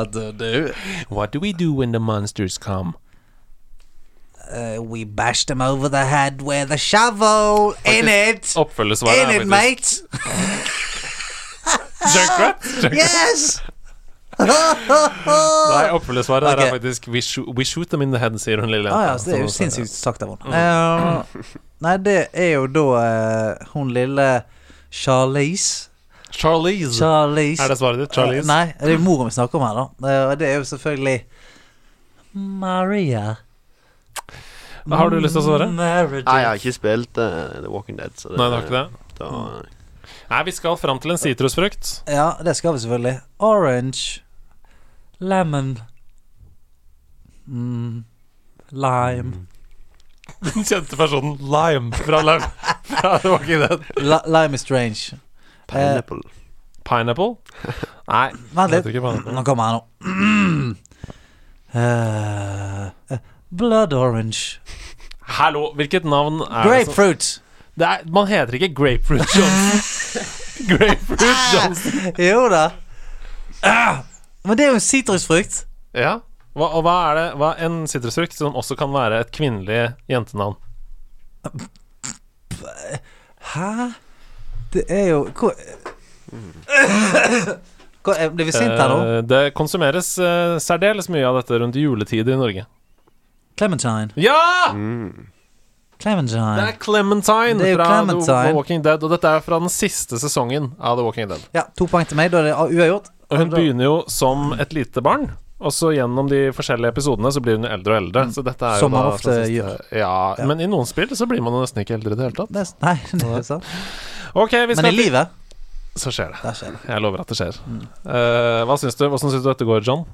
Speaker 1: at eh, du
Speaker 2: What do we do when the monsters come?
Speaker 1: uh, We bashed them over the head with a shovel In it
Speaker 2: Oppfølgesvaret
Speaker 1: In
Speaker 2: er
Speaker 1: it
Speaker 2: faktisk
Speaker 1: mate
Speaker 2: Junkrap?
Speaker 1: Yes
Speaker 2: Nei, oppfølgesvaret her er
Speaker 1: Ok.
Speaker 2: faktisk we shoot, we shoot them in the head, sier hun lille
Speaker 1: ah, ja,
Speaker 2: jenta.
Speaker 1: så Det er jo
Speaker 2: Som-
Speaker 1: sinnssykt sagt av henne
Speaker 2: Mm.
Speaker 1: Eh, Nei, det er jo da eh, Hun lille Charlize
Speaker 2: Charlize.
Speaker 1: Charlize
Speaker 2: Er det svaret ditt? Charlize?
Speaker 1: Nei, det er moren vi snakker om her da Eh, Og det er jo selvfølgelig Maria
Speaker 2: Har du lyst til å svare?
Speaker 1: Meredith.
Speaker 3: Nei, jeg har ikke spilt eh, The Walking Dead, så det,
Speaker 2: Nei, det har ikke det. Mm.
Speaker 3: Da,
Speaker 2: Nei, vi skal fram til en sitrusfrukt.
Speaker 1: Ja, det skal vi selvfølgelig. Orange. Lemon. Mm. Lime.
Speaker 2: Den kjente personen Lime fra Lime. Fra The Walking Dead.
Speaker 1: La lime is strange.
Speaker 3: Pineapple.
Speaker 2: Pineapple? Nei.
Speaker 1: Vent
Speaker 2: Jeg
Speaker 1: litt.
Speaker 2: heter ikke pineapple.
Speaker 1: Nå kommer han nå. Eh, eh, blood orange.
Speaker 2: Hallo, hvilket navn er det som
Speaker 1: Grapefruit.
Speaker 2: det er, Man heter ikke Grapefruit Johnson. Grapefruit Johnson.
Speaker 1: Jo da. Ah! Men det er jo en sitrusfrukt.
Speaker 2: Ja. Hva, og hva er det hva er en sitrusfrukt som også kan være et kvinnelig jentenavn?
Speaker 1: Hæ? Det er jo Hvor Hvor- jeg Blir vi sinte her nå?
Speaker 2: Eh, det konsumeres eh, særdeles mye av dette rundt juletid i Norge.
Speaker 1: Clementine.
Speaker 2: Ja! Det
Speaker 1: Clementine.
Speaker 2: er Clementine
Speaker 1: Det er jo
Speaker 2: fra The
Speaker 1: Clementine.
Speaker 2: Walking Dead. Og dette er fra den siste sesongen av The Walking Dead.
Speaker 1: Ja, to poeng til meg. Da er det uavgjort.
Speaker 2: Og hun begynner jo som et lite barn, og så gjennom de forskjellige episodene så blir hun eldre og eldre. Så dette er jo
Speaker 1: Som
Speaker 2: da
Speaker 1: man ofte
Speaker 2: fra siste-
Speaker 1: gjør.
Speaker 2: Ja, men i noen spill så blir man jo nesten ikke eldre i det hele tatt.
Speaker 1: Det er, nei, det er sant.
Speaker 2: Ok, vi skal
Speaker 1: Men i Mm.
Speaker 2: til
Speaker 1: livet
Speaker 2: Så skjer det.
Speaker 1: Der skjer det.
Speaker 2: Jeg lover at det skjer. Eh, hva syns du? Hvordan syns du dette går, John?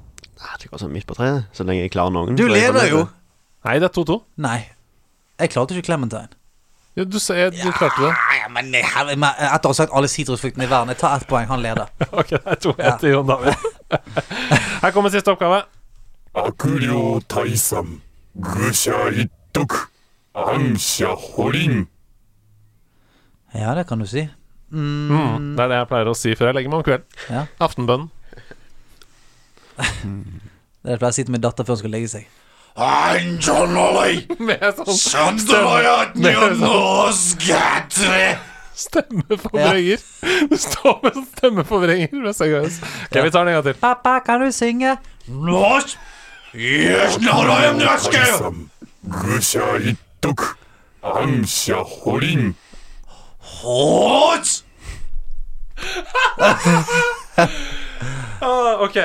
Speaker 3: Nei, det går sånn midt på treet, så lenge jeg klarer noen.
Speaker 1: Du
Speaker 3: så er jeg
Speaker 1: lever
Speaker 3: fornøyd.
Speaker 1: jo!
Speaker 2: Nei, det er 2-2.
Speaker 1: Nei. Jeg klarte ikke Clementine.
Speaker 2: Jo, Du, ser- du klarte det.
Speaker 1: Nei, men jeg, jeg, jeg, etter å ha sagt alle sitrusfruktene i verden, jeg tar ett poeng. Han leder.
Speaker 2: Ok, det er 2-1 til Jon David. Her kommer siste oppgave.
Speaker 7: 悪霊退散愚者一徳暗者保輪
Speaker 1: Ja, det kan du si.
Speaker 2: Det er det jeg pleier å si før jeg legger meg om kvelden.
Speaker 1: Mm. Ja.
Speaker 2: Aftenbønnen.
Speaker 1: Det er det jeg pleier å si til min datter før hun skal legge seg.
Speaker 2: Med sånn stemmeforvrenger. Du står med sånn stemmeforvrenger ved senga hennes. Ok, vi tar den en gang til.
Speaker 1: Pappa, kan du synge?
Speaker 7: 退散愚者一徳暗者保輪
Speaker 2: Ah, ok.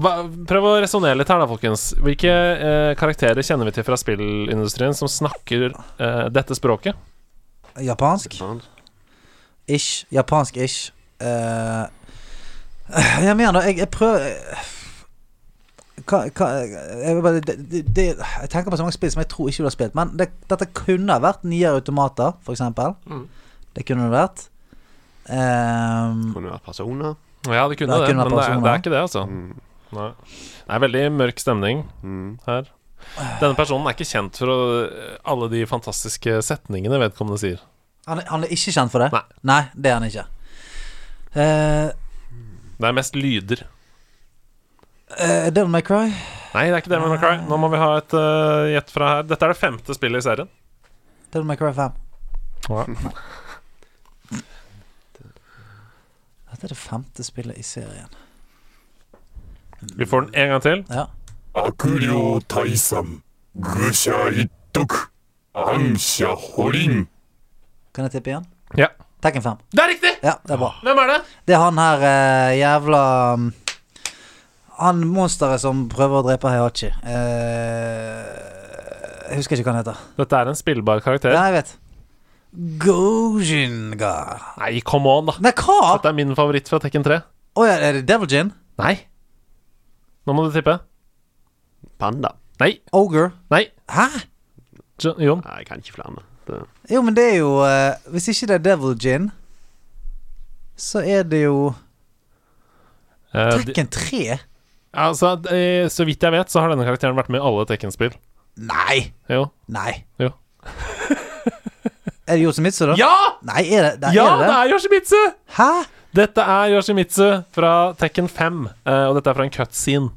Speaker 2: Hva- Prøv å resonnere litt her, da, folkens. Hvilke eh, karakterer kjenner vi til fra spillindustrien som snakker eh, dette språket?
Speaker 1: Japansk?
Speaker 3: Faen.
Speaker 1: Ish. Japansk-ish. Eh, jeg mener, jeg, jeg prøver eh, hva, hva, jeg, vil bare, det, det, det, jeg tenker på så mange spill som jeg tror ikke du har spilt. Men det, dette kunne ha vært nye automater, f.eks. eksempel Det kunne det vært. Ehm,
Speaker 3: Kunne vært personer.
Speaker 2: Ja, det kunne det,
Speaker 1: Det er kun
Speaker 2: men det er,
Speaker 1: personer.
Speaker 2: det er ikke det, altså. Nei. Det er veldig mørk stemning her. Denne personen er ikke kjent for å, alle de fantastiske setningene vedkommende sier.
Speaker 1: han, han er ikke kjent for det?
Speaker 2: Nei.
Speaker 1: det er han ikke. Eh,
Speaker 2: Det er mest lyder.
Speaker 1: eh, Devil May Cry.
Speaker 2: Nei, det er ikke det, men ok, nå må vi ha et eh, gjett fra her. Dette er det femte spillet i serien.
Speaker 1: Devil May Cry 5. Dette er det femte spillet i serien.
Speaker 2: Vi får den en gang til.
Speaker 1: Ja.
Speaker 7: 悪霊退散愚者一徳暗者保輪
Speaker 1: Kan jeg tippe igjen?
Speaker 2: Ja.
Speaker 1: Tekken 5.
Speaker 2: Det er riktig!
Speaker 1: Ja, det er bra.
Speaker 2: Hvem er det?
Speaker 1: Det er han her eh, jævla mm, Han monsteret som prøver å drepe Hayachi. Eh, jeg husker ikke hva han heter.
Speaker 2: Dette er en spillbar karakter.
Speaker 1: Nei, jeg vet. Gojinga
Speaker 2: Nei, come on, da.
Speaker 1: Nei, hva?
Speaker 2: Dette er min favoritt fra Tekken 3.
Speaker 1: Å ja, er det Devil Gin?
Speaker 2: Nei. Nå må du tippe.
Speaker 3: Panda.
Speaker 2: Nei.
Speaker 1: Ogre?
Speaker 2: Nei.
Speaker 1: Hæ?
Speaker 2: Jo- Jon.
Speaker 3: Nei, jeg kan ikke flere. Det.
Speaker 1: Jo, men det er jo eh, Hvis ikke det er Devil Gin, så er det jo
Speaker 2: Eh, de,
Speaker 1: Tekken 3.
Speaker 2: altså, eh, så vidt jeg vet, så har denne karakteren vært med i alle Tekken-spill.
Speaker 1: Nei!
Speaker 2: Jo.
Speaker 1: Nei.
Speaker 2: Jo.
Speaker 1: Er det Yoshimitsu, da?
Speaker 2: Ja!
Speaker 1: Nei, er det, nei,
Speaker 2: Ja,
Speaker 1: er det,
Speaker 2: det
Speaker 1: det?
Speaker 2: er Yoshimitsu!
Speaker 1: Hæ?
Speaker 2: Dette er Yoshimitsu fra Tekken 5, eh, og dette er fra en cutscene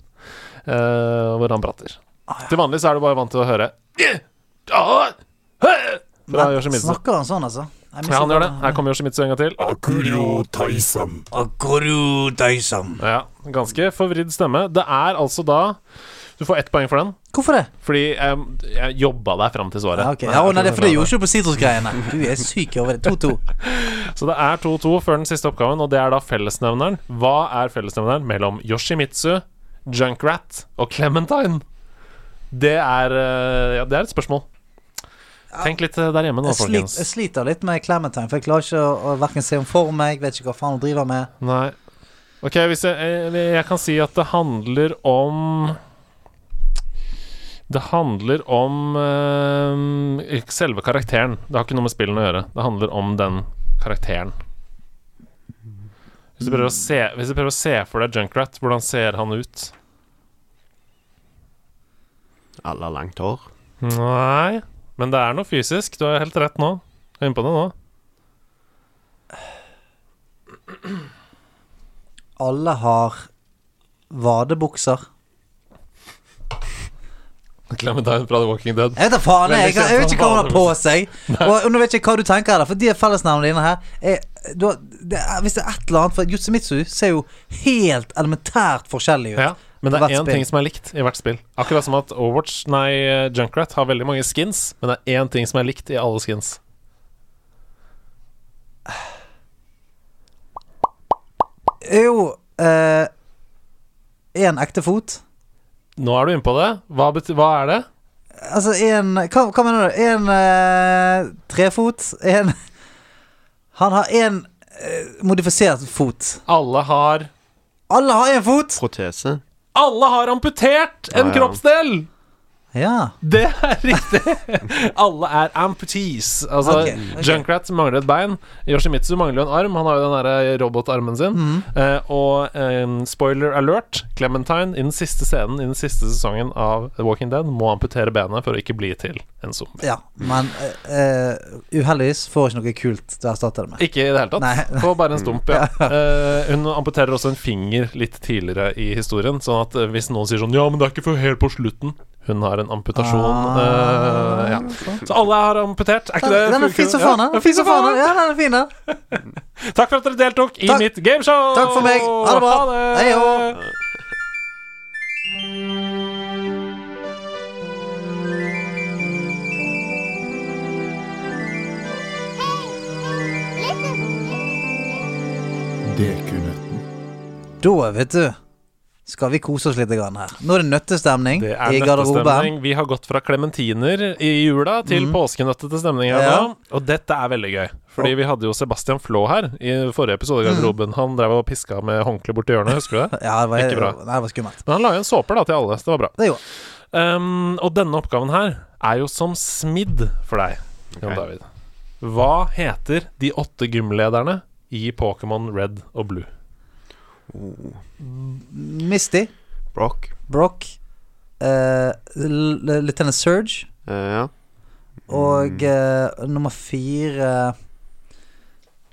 Speaker 2: eh, hvor han prater. Til vanlig så er du bare vant til å høre Fra Yoshimitsu.
Speaker 1: Snakker han sånn, altså? Jeg
Speaker 2: Ja, han gjør det. Her kommer Yoshimitsu en gang til.
Speaker 7: 悪霊退散
Speaker 1: Akoru Daisam.
Speaker 2: Ja, Ganske forvridd stemme. Det er altså da Du får ett poeng for den,
Speaker 1: Hvorfor det?
Speaker 2: fordi eh, jeg jobba deg fram til svaret.
Speaker 1: Ja, Ah, ok. ja, å, nei, det er fordi du gjorde ikke på sitrusgreiene. Du er syk over det. 2-2.
Speaker 2: Så det er 2-2 før den siste oppgaven, og det er da fellesnevneren. Hva er fellesnevneren mellom Yoshimitsu, Junkrat og Clementine? Det er eh, Ja, det er et spørsmål. Tenk litt eh, der hjemme nå,
Speaker 1: Jeg, slit,
Speaker 2: folkens.
Speaker 1: jeg sliter litt med Clementine, for jeg klarer ikke å, å hverken se henne for meg, vet ikke hva faen hun driver med.
Speaker 2: Nei. Ok, hvis jeg, jeg, jeg kan si at det handler om Det handler om eh, selve karakteren. Det har ikke noe med spillene å gjøre. Det handler om den karakteren. Hvis du prøver å se, hvis du prøver å se for deg Junkrat, hvordan ser han ut?
Speaker 3: Alle har langt hår.
Speaker 2: Nei, men det er noe fysisk. Du har helt rett nå. Jeg er inne på det nå.
Speaker 1: Alle har vadebukser.
Speaker 2: Clementine fra The Walking Dead.
Speaker 1: Jeg vet da faen, jeg,
Speaker 2: Veldig
Speaker 1: jeg, jeg vet
Speaker 2: kjent
Speaker 1: ikke hva hun har
Speaker 2: som
Speaker 1: på seg. Og nå vet jeg ikke hva du tenker her, da, for de fellesnavnene dine her er, du har, det er, Hvis det er et eller annet For Yutsumitsu ser jo helt elementært forskjellig ut.
Speaker 2: Ja, men det er
Speaker 1: på hvert
Speaker 2: én
Speaker 1: spill.
Speaker 2: ting som er likt i hvert spill. Akkurat som at Overwatch, nei, Junkrat har veldig mange skins, men det er én ting som er likt i alle skins.
Speaker 1: Er jo eh, en ekte fot.
Speaker 2: Nå er du inne på det. Hva, bety hva er det?
Speaker 1: Altså en Hva, hva mener du? En eh, trefot? En Han har en eh, modifisert fot.
Speaker 2: Alle har
Speaker 1: Alle har én fot!
Speaker 3: Protese.
Speaker 2: Alle har amputert en
Speaker 3: Ja, ja.
Speaker 2: kroppsdel!
Speaker 1: Ja.
Speaker 2: Det er riktig! Alle er amputees. Altså,
Speaker 1: Ok, ok.
Speaker 2: Junkrat mangler et bein. Yoshimitsu mangler jo en arm. Han har jo den derre robotarmen sin. Eh, og eh, spoiler alert, Clementine i den siste scenen i den siste sesongen av The Walking Dead må amputere benet for å ikke bli til en zombie.
Speaker 1: ja. Men eh, eh, uheldigvis får ikke noe kult du erstatter det med.
Speaker 2: Ikke i det hele tatt.
Speaker 1: Nei.
Speaker 2: På bare en stump, ja. Eh, hun amputerer også en finger litt tidligere i historien, sånn at eh, hvis noen sier sånn Ja, men det er ikke før helt på slutten. Hun har en amputasjon.
Speaker 1: Ah,
Speaker 2: eh, ja. Så alle har amputert. Er ikke det
Speaker 1: Den er fin som faen,
Speaker 2: Ja,
Speaker 1: den. Fin som faen, den.
Speaker 2: ja.
Speaker 1: Ja, den er fin, den.
Speaker 2: Takk for at dere deltok i
Speaker 1: Takk.
Speaker 2: mitt gameshow!
Speaker 1: Takk for meg. Ha det bra.
Speaker 2: Ha
Speaker 1: Hei
Speaker 2: det.
Speaker 1: hå. Da, vet du, skal vi kose oss litt grann her. Nå er det nøttestemning
Speaker 2: Det er
Speaker 1: i garderoben. Mm.
Speaker 2: nøttestemning. Vi har gått fra clementiner i jula til påskenøttete stemning her
Speaker 1: Ja.
Speaker 2: nå. Og dette er veldig gøy, fordi vi hadde jo Sebastian Flå her i forrige episode. av Garderoben Han drev og piska med håndkle borti hjørnet, husker du det?
Speaker 1: Mm. Ja, det var,
Speaker 2: Ikke bra.
Speaker 1: Nei, det var skummelt.
Speaker 2: Men han la igjen såper da til alle, så det var bra.
Speaker 1: Det gjorde
Speaker 2: Ehm, og denne oppgaven her er jo som smidd for deg, Jon
Speaker 3: Ok.
Speaker 2: David. Hva heter de åtte gymlederne i Pokémon Red og Blue?
Speaker 1: Misty,
Speaker 3: Brock.
Speaker 1: Brock, uh, Lieutenant Surge
Speaker 3: Eh, ja.
Speaker 2: Mm.
Speaker 1: og eh, nummer fire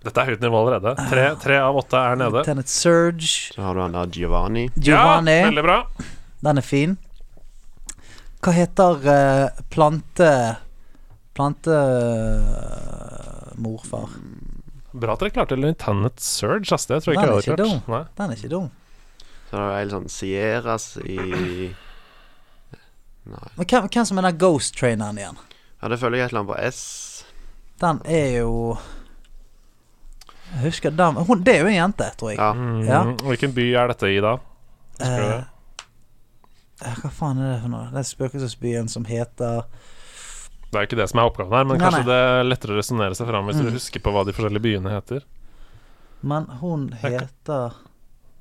Speaker 2: Dette er høyt nivå allerede. Tre, tre av åtte er nede.
Speaker 1: Lieutenant Surge.
Speaker 3: Så har du han der Giovanni.
Speaker 1: Giovanni.
Speaker 2: Ja, veldig bra.
Speaker 1: Den er fin. Hva heter eh, plante... Plante... eh, morfar.
Speaker 2: Bra at dere klarte Lieutenant Surge, ass. Det tror jeg
Speaker 1: Den
Speaker 2: ikke
Speaker 1: er
Speaker 2: jeg hadde
Speaker 1: ikke
Speaker 2: klart. Nei.
Speaker 1: Den er ikke dum.
Speaker 3: Så har du en sånn Sieras i
Speaker 1: Men hvem, hvem som er den ghost traineren igjen?
Speaker 3: Ja, det føler jeg et eller annet på S.
Speaker 1: Den er jo Jeg husker den hun, Det er jo en jente, tror jeg.
Speaker 3: Ja.
Speaker 2: Mm,
Speaker 1: Ah, Ja.
Speaker 2: Hvilken by er dette i, da? Husker du
Speaker 1: Eh,
Speaker 2: det?
Speaker 1: eh, hva faen er det for noe? Det er spøkelsesbyen som heter
Speaker 2: Det er jo ikke det som er oppgaven her, men
Speaker 1: Nei, Mm.
Speaker 2: kanskje det er lettere å resonnere seg fram hvis du husker på hva de forskjellige byene heter.
Speaker 1: Men hun heter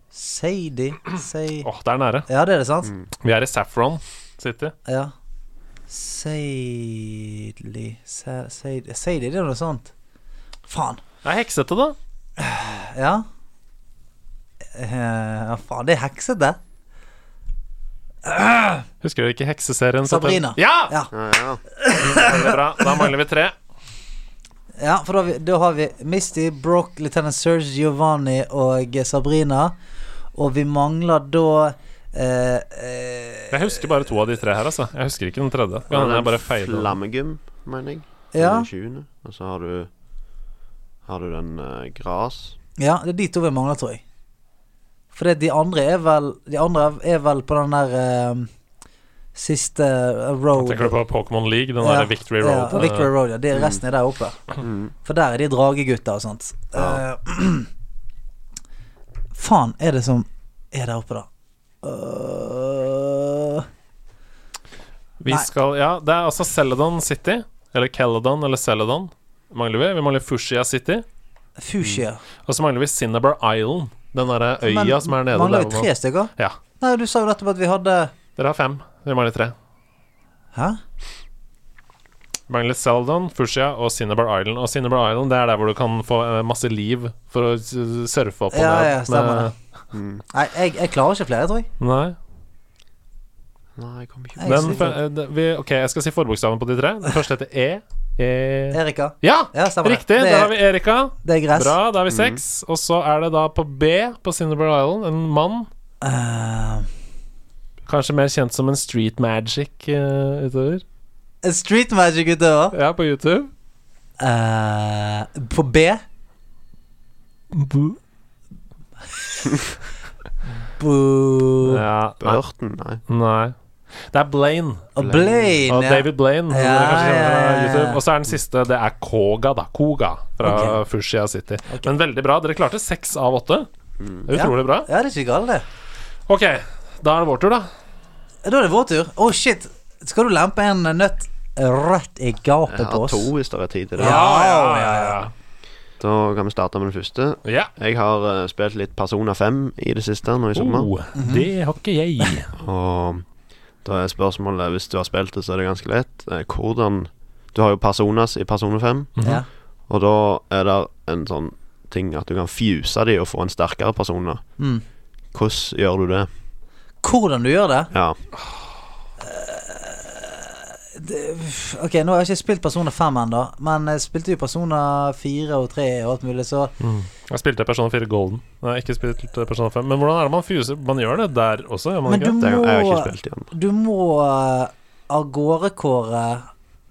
Speaker 1: Sadie Say...
Speaker 2: Åh, det er nære.
Speaker 1: Ja, det er det, sant?
Speaker 2: Vi er i Saffron City.
Speaker 1: Ja. Sadie Sa- Sadie Sadie, det er noe sånt. Faen.
Speaker 2: Det er heksete, da.
Speaker 1: Ja. Eh, Ja, faen, det er heksete.
Speaker 2: Husker du ikke hekseserien? som-
Speaker 1: Sabrina.
Speaker 2: Ja!
Speaker 1: Ja.
Speaker 3: Ja, ja.
Speaker 2: Veldig bra. Da mangler vi tre.
Speaker 1: Ja, for da, har vi- da har vi Misty, Brock, Lieutenant Serge Giovanni og Sabrina. Og vi mangler da eh, eh,
Speaker 2: Jeg husker bare to av de tre her, altså. Jeg husker ikke den tredje. Kan hende jeg bare feilet.
Speaker 3: Flammegym, mener jeg.
Speaker 1: Ja.
Speaker 3: Den 20. Og så har du Har du den eh, gras.
Speaker 1: Ja, det er de to vi mangler, tror jeg. For det, de andre er vel De andre er vel på den der eh, siste eh, road
Speaker 2: Tenker du på Pokémon League, den
Speaker 1: Ja,
Speaker 2: der Victory Road?
Speaker 1: Ja, Victory Road, ja.
Speaker 2: Mm.
Speaker 1: Det, resten er der oppe. For der er de dragegutter og sånt.
Speaker 3: Ja.
Speaker 1: Eh, faen er det som er der oppe, da? Eh,
Speaker 2: Vi
Speaker 1: Nei.
Speaker 2: skal Ja, det er altså Celadon City. Eller Celadon eller Celadon mangler vi. Vi mangler Fushia City.
Speaker 1: Fushia.
Speaker 2: Og så mangler vi Cinnabar Island. Den derre Mm. øya
Speaker 1: Men
Speaker 2: som er nede
Speaker 1: Mangler vi
Speaker 2: hvor man-
Speaker 1: tre stykker?
Speaker 2: Ja.
Speaker 1: Nei, du sa jo nettopp at vi hadde
Speaker 2: Dere har fem. Vi mangler tre.
Speaker 1: Hæ?
Speaker 2: Vi mangler Celadon, Fushia og Cinnabar Island. Og Cinnabar Island det er der hvor du kan få eh, masse liv for å s- surfe opp og
Speaker 1: Ja,
Speaker 2: ned
Speaker 1: ja, stemmer
Speaker 2: med-
Speaker 1: det.
Speaker 2: Mm.
Speaker 1: Nei, jeg, jeg klarer ikke flere, tror jeg.
Speaker 2: Nei.
Speaker 3: Nei, jeg kom ikke
Speaker 1: jeg
Speaker 2: Den,
Speaker 1: sliter.
Speaker 2: fe- eh, den- vi, ok, jeg skal si forbokstaven på de tre. Den første heter E. e
Speaker 1: Erika,
Speaker 2: ja,
Speaker 1: Ja, stemmer det.
Speaker 2: riktig!
Speaker 1: Det-
Speaker 2: Der har vi Erika.
Speaker 1: det er gress.
Speaker 2: Bra, da er vi seks. Og så er det da på B på Cinnabar Island en mann.
Speaker 1: Eh,
Speaker 2: Kanskje mer kjent som en street magic eh, utover.
Speaker 1: Eh, street magic utover.
Speaker 2: Ja, på YouTube.
Speaker 1: Eh, på B Boo.
Speaker 2: Ja, nei,
Speaker 3: Burton, nei.
Speaker 2: nei. Det er Blaine.
Speaker 1: Og Blaine.
Speaker 2: Og
Speaker 1: ja.
Speaker 2: David Blaine. som
Speaker 1: Ja,
Speaker 2: dere kanskje kjenner fra
Speaker 1: ja, ja, ja.
Speaker 2: YouTube. Og så er den siste, det er Koga, da. Koga fra Fushia City. Men veldig bra. Dere klarte seks av åtte. Det er Utrolig bra.
Speaker 1: Mm. Ja, det er ikke galt, det.
Speaker 2: Ok, da er det vår tur, da.
Speaker 1: Da er det vår tur. Å, shit. Skal du lempe en eh, nøtt rett i gapet
Speaker 3: Jeg
Speaker 1: på
Speaker 3: har
Speaker 1: oss?
Speaker 3: to hvis det er tid til det.
Speaker 2: ja, ja, ja.
Speaker 3: Da kan vi starte med den første.
Speaker 2: ja.
Speaker 3: Jeg har eh, spilt litt Persona 5 i det siste nå i sommer.
Speaker 2: Oh,
Speaker 1: Mhm.
Speaker 2: det har ikke jeg.
Speaker 3: Og da er spørsmålet, hvis du har spilt det, så er det ganske lett. eh, Hvordan Du har jo Personas i Persona 5,
Speaker 2: Mhm.
Speaker 1: Ja.
Speaker 3: og da er det en sånn ting at du kan fuse de og få en sterkere Persona.
Speaker 1: Mm.
Speaker 3: Hvordan gjør du det?
Speaker 1: Hvordan du gjør det?
Speaker 3: Ja.
Speaker 1: Ok, nå har jeg ikke spilt Persona 5 ennå, men jeg spilte jo Persona 4 og 3 og alt mulig, så
Speaker 2: Jeg spilte Persona 4 Golden. Mm. Nei, ikke spilt eh, Persona 5. Men hvordan er det man fuser? Man gjør det der også, gjør man
Speaker 1: Men
Speaker 2: ikke?
Speaker 1: du
Speaker 3: Det, jeg har ikke
Speaker 1: må
Speaker 3: spilt igjen.
Speaker 1: Du må eh, av gårde kåre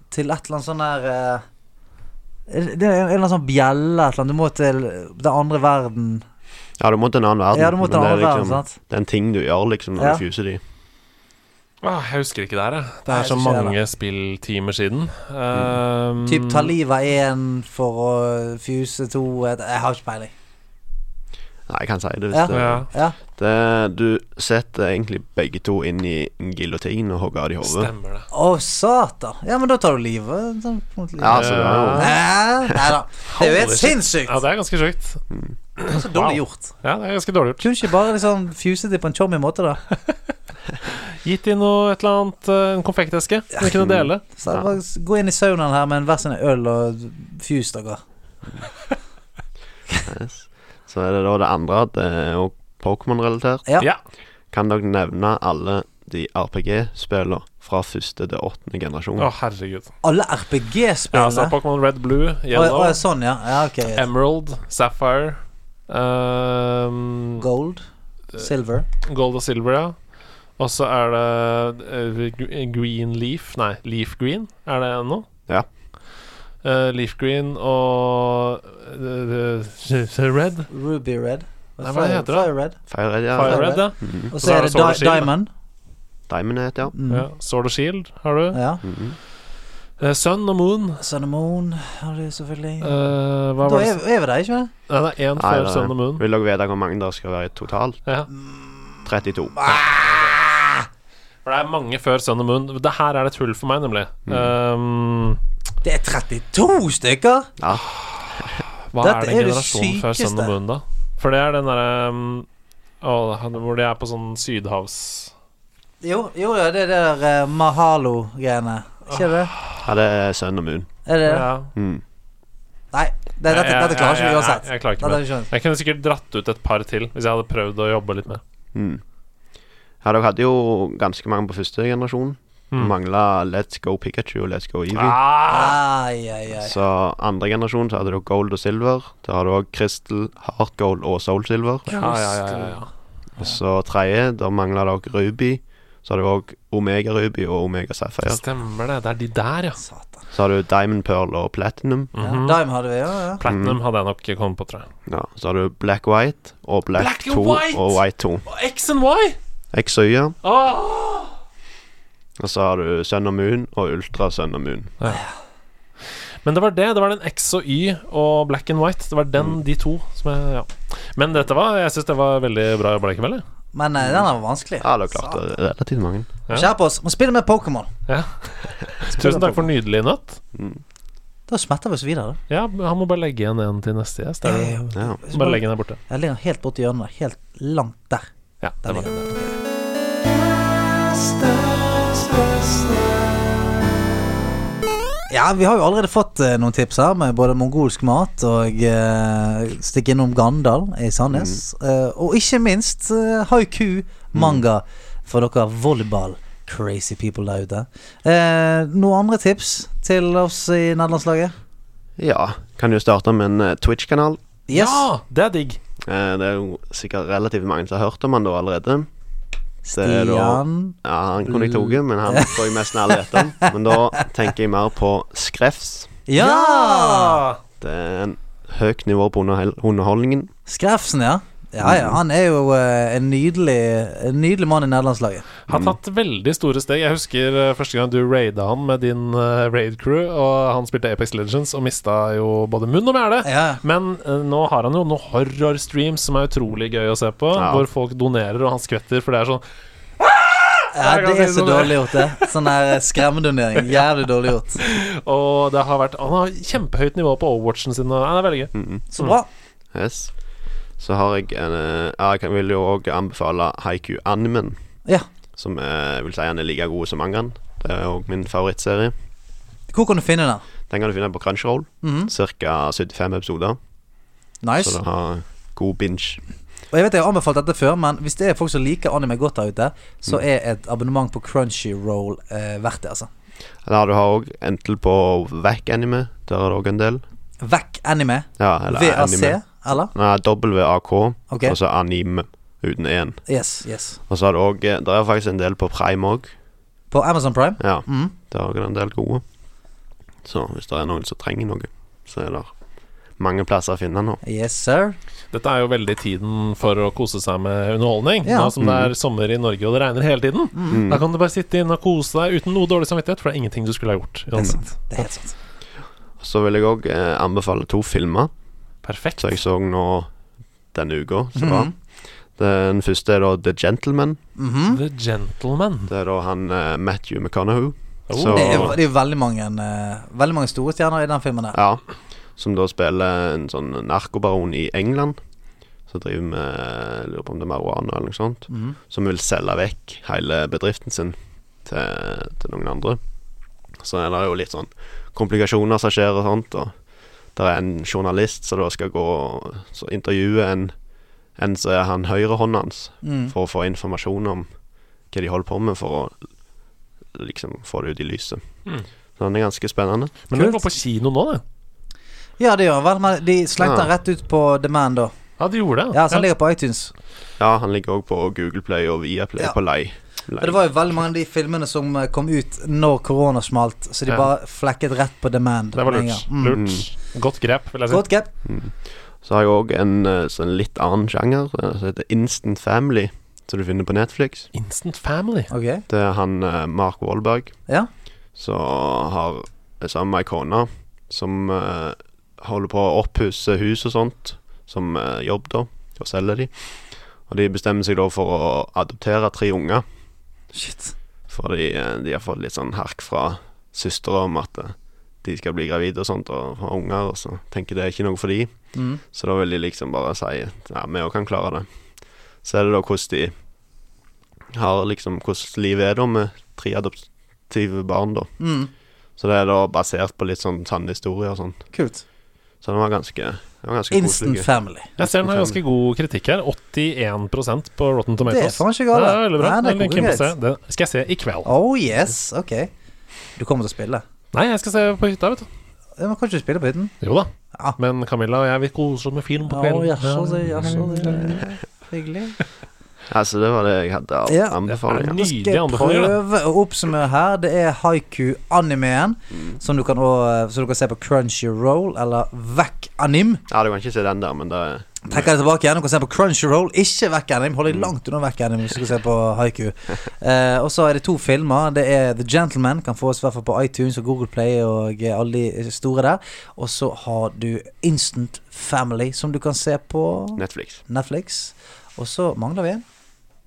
Speaker 1: til et eller annet sånn der eh, Det er en en eller annen sånn bjelle, et eller annet. Du må til den andre verden.
Speaker 3: Ja, du må til en annen verden.
Speaker 1: Ja, du må til
Speaker 3: men
Speaker 1: den
Speaker 3: det er
Speaker 1: andre verden,
Speaker 3: liksom,
Speaker 1: sant?
Speaker 3: Det er en ting du gjør liksom når
Speaker 1: Ja.
Speaker 3: du fuser de.
Speaker 2: Ah, jeg husker ikke det her, jeg. Det
Speaker 1: Nei,
Speaker 2: er
Speaker 1: jeg
Speaker 2: så
Speaker 1: husker ikke
Speaker 2: mange spilltimer siden. Um,
Speaker 1: Mm. Typ ta livet av én for å fuse to et, Jeg har ikke peiling.
Speaker 3: Nei, jeg kan si det hvis
Speaker 1: Ja.
Speaker 3: det
Speaker 2: Ja,
Speaker 1: Ja,
Speaker 3: Det, du setter egentlig begge to inn i en giljotin og hogger av de i hodet.
Speaker 2: stemmer det.
Speaker 1: Å, satan. Ja, men da tar du livet. sånn, på en måte livet.
Speaker 3: Ja, så det er jo
Speaker 1: Nei nei da. Det er jo helt
Speaker 2: Holy shit.
Speaker 1: sinnssykt.
Speaker 2: Ja, det er ganske sjukt.
Speaker 1: Det er så dårlig
Speaker 2: Wow.
Speaker 1: gjort.
Speaker 2: Ja, det er ganske dårlig gjort.
Speaker 1: Kunne ikke bare liksom fuse det på en chummy måte, da.
Speaker 2: Gitt inn noe, et eller annet, eh, en konfekteske som vi kunne dele.
Speaker 1: Så jeg bare s- Gå inn i saunaen her med en hver sin øl og fuse dere.
Speaker 3: Yes. Så er det da det andre, det er jo Pokémon-relatert.
Speaker 1: Ja.
Speaker 2: Ja.
Speaker 3: Kan dere nevne alle de RPG-spillene fra første til åttende generasjon?
Speaker 2: Å, herregud.
Speaker 1: Alle
Speaker 2: Ja, altså
Speaker 1: RPG-spillene?
Speaker 2: Pokémon Red, Blue,
Speaker 1: Å, ja,
Speaker 2: Yellow,
Speaker 1: å, ja, sånn, ja. ja ok greit.
Speaker 2: Emerald, Sapphire ehm,
Speaker 1: Gold. Silver.
Speaker 2: Gold og Silver, ja. Og så er det eh, gr- Green Leaf Nei, Leaf Green, er det noe?
Speaker 3: Ja.
Speaker 2: Eh, leaf Green og eh, eh, Red?
Speaker 1: Ruby Red.
Speaker 2: Nei, hva heter det?
Speaker 1: Fire Red.
Speaker 3: Fire Red, ja.
Speaker 2: Fire Red, ja.
Speaker 3: Mhm.
Speaker 1: Og
Speaker 2: så
Speaker 1: så
Speaker 2: er
Speaker 1: er
Speaker 2: det Sword
Speaker 1: det
Speaker 2: and
Speaker 1: Di
Speaker 2: Shield, da.
Speaker 1: Diamond.
Speaker 3: Diamond het, ja.
Speaker 1: Mm.
Speaker 2: ja. Sword og Shield har du.
Speaker 1: Ja.
Speaker 3: Mhm.
Speaker 2: Eh, Sun og Moon.
Speaker 1: Sun and Moon har du selvfølgelig.
Speaker 2: eh, hva var
Speaker 1: Da
Speaker 2: det?
Speaker 1: er, er vi der, ikke sant?
Speaker 2: Nei, det er én
Speaker 3: Nei,
Speaker 2: før
Speaker 3: det er-
Speaker 2: Sun og Moon.
Speaker 3: Vil dere vite hvor mange det skal være i totalt?
Speaker 2: Ja.
Speaker 3: 32.
Speaker 2: Ah. For det er mange før Sun og Moon. Det her er det et hull for meg, nemlig. Ehm,
Speaker 1: Det er 32 stykker!
Speaker 2: hva
Speaker 1: Dette
Speaker 2: er den
Speaker 1: er det
Speaker 2: generasjonen før Sun
Speaker 1: sykeste.
Speaker 2: og Moon, da? For det er den derre ehm, å, han- Hvor de er på sånn sydhavs...
Speaker 1: Jo, jo, ja, det er det der eh, Mahalo-greiene. Ikke det?
Speaker 3: Ja, det er Sun og Moon.
Speaker 1: Er det det?
Speaker 2: Ja.
Speaker 3: Mhm.
Speaker 1: Nei, det, dette, dette klarer ikke vi
Speaker 2: Jeg,
Speaker 1: uansett.
Speaker 2: jeg, jeg klarer ikke
Speaker 1: Dette
Speaker 2: med
Speaker 1: har vi skjønt.
Speaker 2: Jeg kunne sikkert dratt ut et par til hvis jeg hadde prøvd å jobbe litt med.
Speaker 3: Mhm. Ja, dere hadde jo ganske mange på første generasjon.
Speaker 2: Mhm.
Speaker 3: Mangla Let's Go Pikachu og Let's Go Eevee.
Speaker 2: Ah!
Speaker 1: Ai, ai, ai.
Speaker 3: Så andre generasjon så hadde du gold og silver. Da har du òg crystal, hard gold og soul silver.
Speaker 2: Ja, ja, ja, ja, ja.
Speaker 3: Og så tredje, da mangla dere ruby, Så har du òg Omega Ruby og Omega Sapphire.
Speaker 2: Stemmer det. Det er de der, ja.
Speaker 1: Satan.
Speaker 3: Så har du Diamond Pearl og Platinum.
Speaker 1: Ja, Dime hadde vi, ja. ja.
Speaker 2: Platinum hadde jeg nok ikke kommet på, tror jeg.
Speaker 3: Ja, så har du Black White og Black,
Speaker 2: Black and
Speaker 3: 2
Speaker 2: White!
Speaker 3: og White 2.
Speaker 2: Og X and Y!
Speaker 3: X og Y. ja.
Speaker 2: Åh!
Speaker 3: Og så har du Sun og Moon og Ultra Sun og Moon.
Speaker 2: Men det var det. Det var den X og Y og Black and White. Det var den,
Speaker 3: Mm.
Speaker 2: de to. Som jeg, ja. Men dette var Jeg syns det var veldig bra jobba likevel. jeg.
Speaker 1: Men eh, den var vanskelig.
Speaker 3: Ja, det er klart det er relativt mange.
Speaker 2: Ja.
Speaker 1: Skjerp oss. Må spille med Pokémon.
Speaker 2: Ja. Tusen takk for nydelig nøtt.
Speaker 1: Da smetter vi oss videre.
Speaker 2: Ja, han må bare legge igjen en til neste gjest. Er det-
Speaker 3: Ja.
Speaker 2: Bare legg den der borte.
Speaker 1: Jeg ligger helt borti hjørnet. Helt langt der.
Speaker 2: Ja, det var det.
Speaker 1: Ja, vi har jo allerede fått eh, noen tips her, med både mongolsk mat og eh, stikke innom Gandal i Sandnes.
Speaker 2: Mm.
Speaker 1: Eh, og ikke minst eh, haiku manga for dere volleyball-crazy people der ute. Eh, noen andre tips til oss i nederlandslaget?
Speaker 3: ja. Kan jo starte med en eh, Twitch-kanal.
Speaker 1: Yes.
Speaker 2: Ja, det er digg.
Speaker 3: Eh, Det er jo sikkert relativt mange som har hørt om han da allerede. Det er da-
Speaker 1: Stian
Speaker 3: Ja, han kunne jeg tatt, men han får jeg nesten alle etter. Men da tenker jeg mer på Skrefs.
Speaker 1: Ja!
Speaker 3: Det er en høyt nivå på underhel- underholdningen.
Speaker 1: Skrefsen, ja. Ja, ja, Han er jo eh, en, nydelig, en nydelig mann i nederlandslaget.
Speaker 3: Mm.
Speaker 2: Har tatt veldig store steg. Jeg husker eh, første gang du raida han med din eh, raid crew, og han spilte Apex Legends og mista jo både munn og mæle.
Speaker 1: Ja.
Speaker 2: Men eh, nå har han jo noen horrorstreams som er utrolig gøy å se på,
Speaker 3: Ja.
Speaker 2: hvor folk donerer og han skvetter, for det er sånn
Speaker 1: Ja,
Speaker 2: Jeg kan
Speaker 1: det er
Speaker 2: si noe
Speaker 1: så
Speaker 2: mer.
Speaker 1: dårlig gjort, det. Sånn der skremmedonering. Jævlig dårlig gjort.
Speaker 2: Og det har vært Han har kjempehøyt nivå på Overwatchen sin, og ja, det er veldig gøy.
Speaker 1: Så bra.
Speaker 3: Yes. Så har jeg en eh, ja, Jeg kan- vil jo òg anbefale Haiku Animen,
Speaker 1: Ja.
Speaker 3: som eh, vil si han er like god som mangaen. Det er òg min favorittserie.
Speaker 1: Hvor kan du finne den?
Speaker 3: Den kan du finne på Crunchyroll.
Speaker 1: Mhm.
Speaker 3: Cirka Ca. 75 episoder.
Speaker 1: Nice.
Speaker 3: Så du har god binge.
Speaker 1: Og Jeg vet jeg har anbefalt dette før, men hvis det er folk som liker anime godt der ute,
Speaker 3: Mm.
Speaker 1: så er et abonnement på Crunchyroll eh, verdt det, altså.
Speaker 3: Eller du har òg entel på Wack Anime. Der er det òg en del.
Speaker 1: Vekk anime.
Speaker 3: Ja, eller
Speaker 1: VAC,
Speaker 3: anime.
Speaker 1: eller?
Speaker 3: Nei, WAK,
Speaker 1: Ok.
Speaker 3: og så anime uten en.
Speaker 1: Yes, yes.
Speaker 3: Og så har du òg Det er faktisk en del på Prime òg.
Speaker 1: På Amazon Prime.
Speaker 3: Ja,
Speaker 1: Mm.
Speaker 3: det er òg en del gode. Så hvis det er noen som trenger noe, så er det mange plasser å finne nå.
Speaker 1: Yes, sir.
Speaker 2: Dette er jo veldig tiden for å kose seg med underholdning.
Speaker 1: Ja.
Speaker 2: Nå som det
Speaker 1: Mm.
Speaker 2: er sommer i Norge og det regner hele tiden. Da kan du bare sitte inn og kose deg uten noe dårlig samvittighet, for det er ingenting du skulle ha gjort.
Speaker 1: Det er
Speaker 2: Uansett.
Speaker 1: sant. Det er helt sant.
Speaker 3: Så vil jeg òg eh, anbefale to filmer
Speaker 2: Perfekt.
Speaker 3: som jeg så nå denne uka.
Speaker 1: Mhm.
Speaker 3: som var. Den første er da The Gentleman.
Speaker 1: Mhm. Mm.
Speaker 2: The Gentleman.
Speaker 3: Det er da han eh, Matthew McConaughey.
Speaker 2: Oh.
Speaker 1: Det er
Speaker 3: Så,
Speaker 1: det er jo veldig mange eh, Veldig mange store stjerner i den filmen der.
Speaker 3: ja, som da spiller en sånn narkobaron i England. Som driver med jeg lurer på om det er marihuana eller noe sånt.
Speaker 1: Mhm.
Speaker 3: som vil selge vekk hele bedriften sin til, til noen andre. Så er det jo litt sånn komplikasjoner som skjer og sånt. Og det er en journalist som da skal gå og så intervjue en, en som er han høyrehånden hans,
Speaker 1: Mm.
Speaker 3: for å få informasjon om hva de holder på med, for å liksom få det ut i lyset.
Speaker 2: Mm.
Speaker 3: Så den er ganske spennende.
Speaker 2: Men den går på kino nå, det.
Speaker 1: Ja, det gjør han vel, men de slengte den rett ut på Demand da.
Speaker 2: Ja, de gjorde det.
Speaker 1: Ja, så han ligger på iTunes.
Speaker 3: Ja, han ligger òg på Google Play og Viaplay
Speaker 1: Ja.
Speaker 3: på lei.
Speaker 1: Og det var jo veldig mange av de filmene som eh, kom ut når korona smalt, så de
Speaker 2: Ja.
Speaker 1: bare flekket rett på demand.
Speaker 2: Det var
Speaker 1: med en
Speaker 2: lurt. altså.
Speaker 1: gang. Mm.
Speaker 2: lurt. Godt grep, vil jeg si.
Speaker 1: Godt grep.
Speaker 3: Så har jeg òg en eh, sånn litt annen sjanger eh, som heter Instant Family, som du finner på Netflix.
Speaker 2: Instant Family.
Speaker 1: Ok.
Speaker 3: Det er han eh, Mark Wahlberg
Speaker 1: Ja.
Speaker 3: som har er sammen med ei kone som eh, holder på å oppusse hus og sånt som eh, jobb, da, og selger de. Og de bestemmer seg da for å adoptere tre unger,
Speaker 1: Shit.
Speaker 3: fordi eh, de har fått litt sånn herk fra søstera om at eh, de skal bli gravide og sånt og ha unger, og så tenker det er ikke noe for de.
Speaker 1: Mm.
Speaker 3: Så da vil de liksom bare si Ja, vi òg kan klare det. Så er det da hvordan de har liksom Hvordan livet er da med tre adoptive barn, da.
Speaker 1: Mm.
Speaker 3: Så det er da basert på litt sånn sanne historier og sånn.
Speaker 1: Kult.
Speaker 3: Så den var ganske Den var ganske
Speaker 1: Instant
Speaker 3: koselig.
Speaker 1: Family.
Speaker 2: Jeg ser den har ganske god kritikk her. 81 på Rotten Tomatoes.
Speaker 1: Det er faen ikke galt,
Speaker 2: Det er veldig bra.
Speaker 1: Nei, det
Speaker 2: Den
Speaker 1: er
Speaker 2: linken må jeg se.
Speaker 1: konkurrent.
Speaker 2: Den skal jeg se i kveld.
Speaker 1: Oh yes. Ok. Du kommer til å spille.
Speaker 2: Nei, jeg skal se på hytta, vet du.
Speaker 1: Ja, Men kan ikke du spille på hytten?
Speaker 2: Jo da.
Speaker 1: Ja.
Speaker 2: Men Camilla og jeg, vi koser oss med film på
Speaker 1: Å,
Speaker 2: kvelden.
Speaker 1: jaså, det- jaså, det- Hyggelig.
Speaker 3: Altså, det var det jeg hadde av
Speaker 1: Ja.
Speaker 2: Det
Speaker 3: anbefalinger.
Speaker 1: Nå
Speaker 2: Nydelige
Speaker 1: skal jeg
Speaker 2: anbefalinger, da.
Speaker 1: prøve å oppsummere her. Det er haiku-animeen, som du kan, også, som du kan se på Crunchyroll eller Vekk Anim.
Speaker 3: Ja, du kan ikke se den der, men det er
Speaker 1: Trekker det tilbake igjen. Du kan se på Crunchyroll, ikke Vekk Anim. Hold deg langt unna Vekk Anim hvis du skal se på haiku. Eh, og så er det to filmer. Det er The Gentleman, kan fås i hvert fall på iTunes og Google Play og eh, alle de store der. Og så har du Instant Family, som du kan se på
Speaker 3: Netflix.
Speaker 1: Netflix. Og så mangler vi en.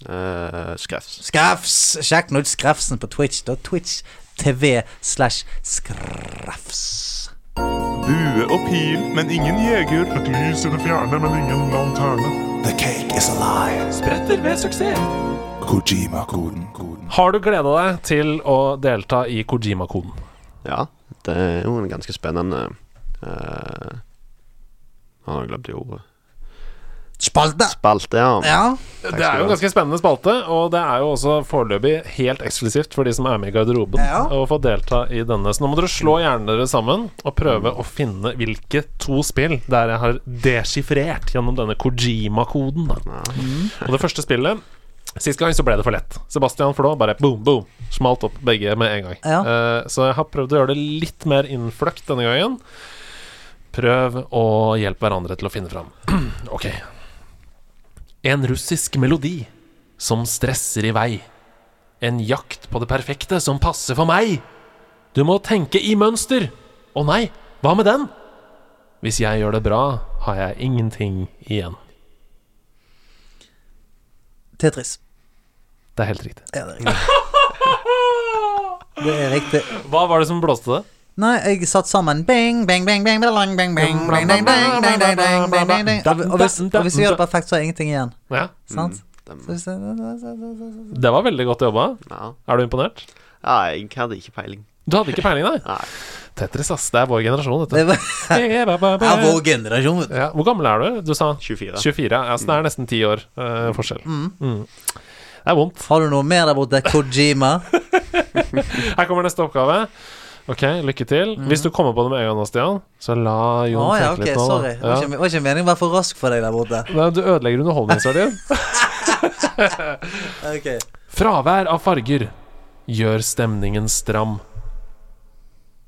Speaker 3: Eh, Skrevs.
Speaker 1: Skrefs! Sjekk nå ut Skrefsen på Twitch. Da Twitch TV slash Skrefs.
Speaker 4: Bue og pil, men ingen jeger.
Speaker 7: Et lys i det fjerne, men ingen lanterne.
Speaker 8: The cake is alive.
Speaker 2: Spretter ved suksess.
Speaker 8: Kojima-koden.
Speaker 2: Har du gleda deg til å delta i Kojima-koden?
Speaker 3: Ja, det er jo en ganske spennende eh, Nå har jeg glemt ordet.
Speaker 1: Spalte!
Speaker 3: Spalte, ja.
Speaker 1: Ja.
Speaker 2: Det er jo en ganske spennende spalte, og det er jo også foreløpig helt eksklusivt for de som er med i garderoben,
Speaker 1: Ja.
Speaker 2: å få delta i denne. Så nå må dere slå hjernen deres sammen og prøve å finne hvilke to spill der jeg har deschiffrert gjennom denne Kojima-koden. da. Og det første spillet Sist gang så ble det for lett. Sebastian Flå bare boom, boom. Smalt opp begge med en gang.
Speaker 1: Ja.
Speaker 2: Eh, så jeg har prøvd å gjøre det litt mer innfløkt denne gangen. Prøv å hjelpe hverandre til å finne fram. ok. En russisk melodi som stresser i vei. En jakt på det perfekte som passer for meg. Du må tenke i mønster. Å nei, hva med den? Hvis jeg gjør det bra, har jeg ingenting igjen.
Speaker 1: Tetris.
Speaker 2: Det er helt riktig.
Speaker 1: Ja, det er riktig. Det er riktig.
Speaker 2: Hva var det som blåste det?
Speaker 1: Nei, jeg satt sammen Bing, bing, bing, bing, bing, bing, bing, bing, bing, bing, bing, bing, bing, bing, bing, bing, bing. Og- Og hvis, Mm, og hvis vi gjør det perfekt, så er ingenting igjen.
Speaker 2: Ja,
Speaker 1: Sant? Så hvis det-
Speaker 2: Det var veldig godt jobba.
Speaker 3: Ja.
Speaker 2: Er du imponert?
Speaker 3: ja, jeg hadde ikke peiling.
Speaker 2: Du hadde ikke peiling, nei?
Speaker 3: Nei.
Speaker 2: Tetris, ass. Det er vår generasjon, dette.
Speaker 1: Det var Ja, vår
Speaker 2: Ja,
Speaker 1: generasjon, vet du.
Speaker 2: hvor gammel er du? Du sa
Speaker 3: 24.
Speaker 2: 24. Ja, så det er nesten ti år eh, forskjell. Mm. Det er vondt.
Speaker 1: Har du noe mer der borte? Kojima?
Speaker 2: Her kommer neste oppgave. Ok, lykke til. Hvis du kommer på det med en gang nå, Stian, så la
Speaker 1: Mm. Å
Speaker 2: Jon
Speaker 1: ja,
Speaker 2: tenke
Speaker 1: ok,
Speaker 2: litt nå.
Speaker 1: sorry. Det
Speaker 2: da.
Speaker 1: var
Speaker 2: Ja.
Speaker 1: ikke- var ikke meningen å være for rask for deg der borte.
Speaker 2: Nei, Du ødelegger underholdningsverdien.
Speaker 1: Ok
Speaker 2: Fravær av farger gjør stemningen stram.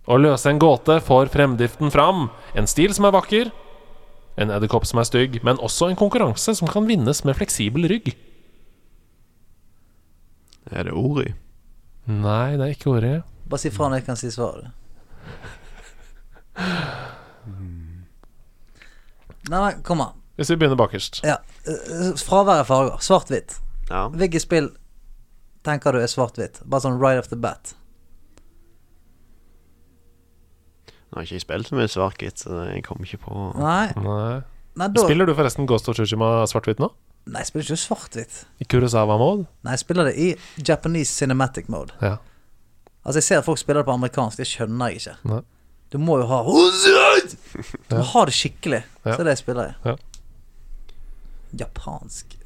Speaker 2: Å løse en gåte får fremdriften fram. En stil som er vakker, en edderkopp som er stygg, men også en konkurranse som kan vinnes med fleksibel rygg.
Speaker 3: Er det ord i?
Speaker 2: Nei, det er ikke ordet.
Speaker 1: Bare si fra når jeg kan si svaret. Nei, nei, kom an.
Speaker 2: Hvis vi begynner bakerst.
Speaker 1: Ja. eh, Fraværet farger. Svart-hvitt.
Speaker 3: Ja.
Speaker 1: Hvilke spill tenker du er svart-hvitt? Bare sånn right off the bat.
Speaker 3: Nå har ikke jeg spilt så mye svart-hvitt, så jeg kom ikke på
Speaker 1: Nei,
Speaker 2: Nei.
Speaker 1: nei da
Speaker 2: Spiller du forresten Ghost of Tsushima svart-hvitt nå?
Speaker 1: Nei, jeg spiller ikke svart-hvitt.
Speaker 2: I Kurosawa-mode?
Speaker 1: Nei, jeg spiller det i Japanese cinematic mode.
Speaker 2: Ja.
Speaker 1: Altså, jeg ser at folk spiller det på amerikansk, det skjønner jeg ikke.
Speaker 2: Nei.
Speaker 1: Du må jo ha Du må ha det skikkelig. Så
Speaker 2: Ja.
Speaker 1: det er det jeg spiller i.
Speaker 2: Ja.
Speaker 1: Japansk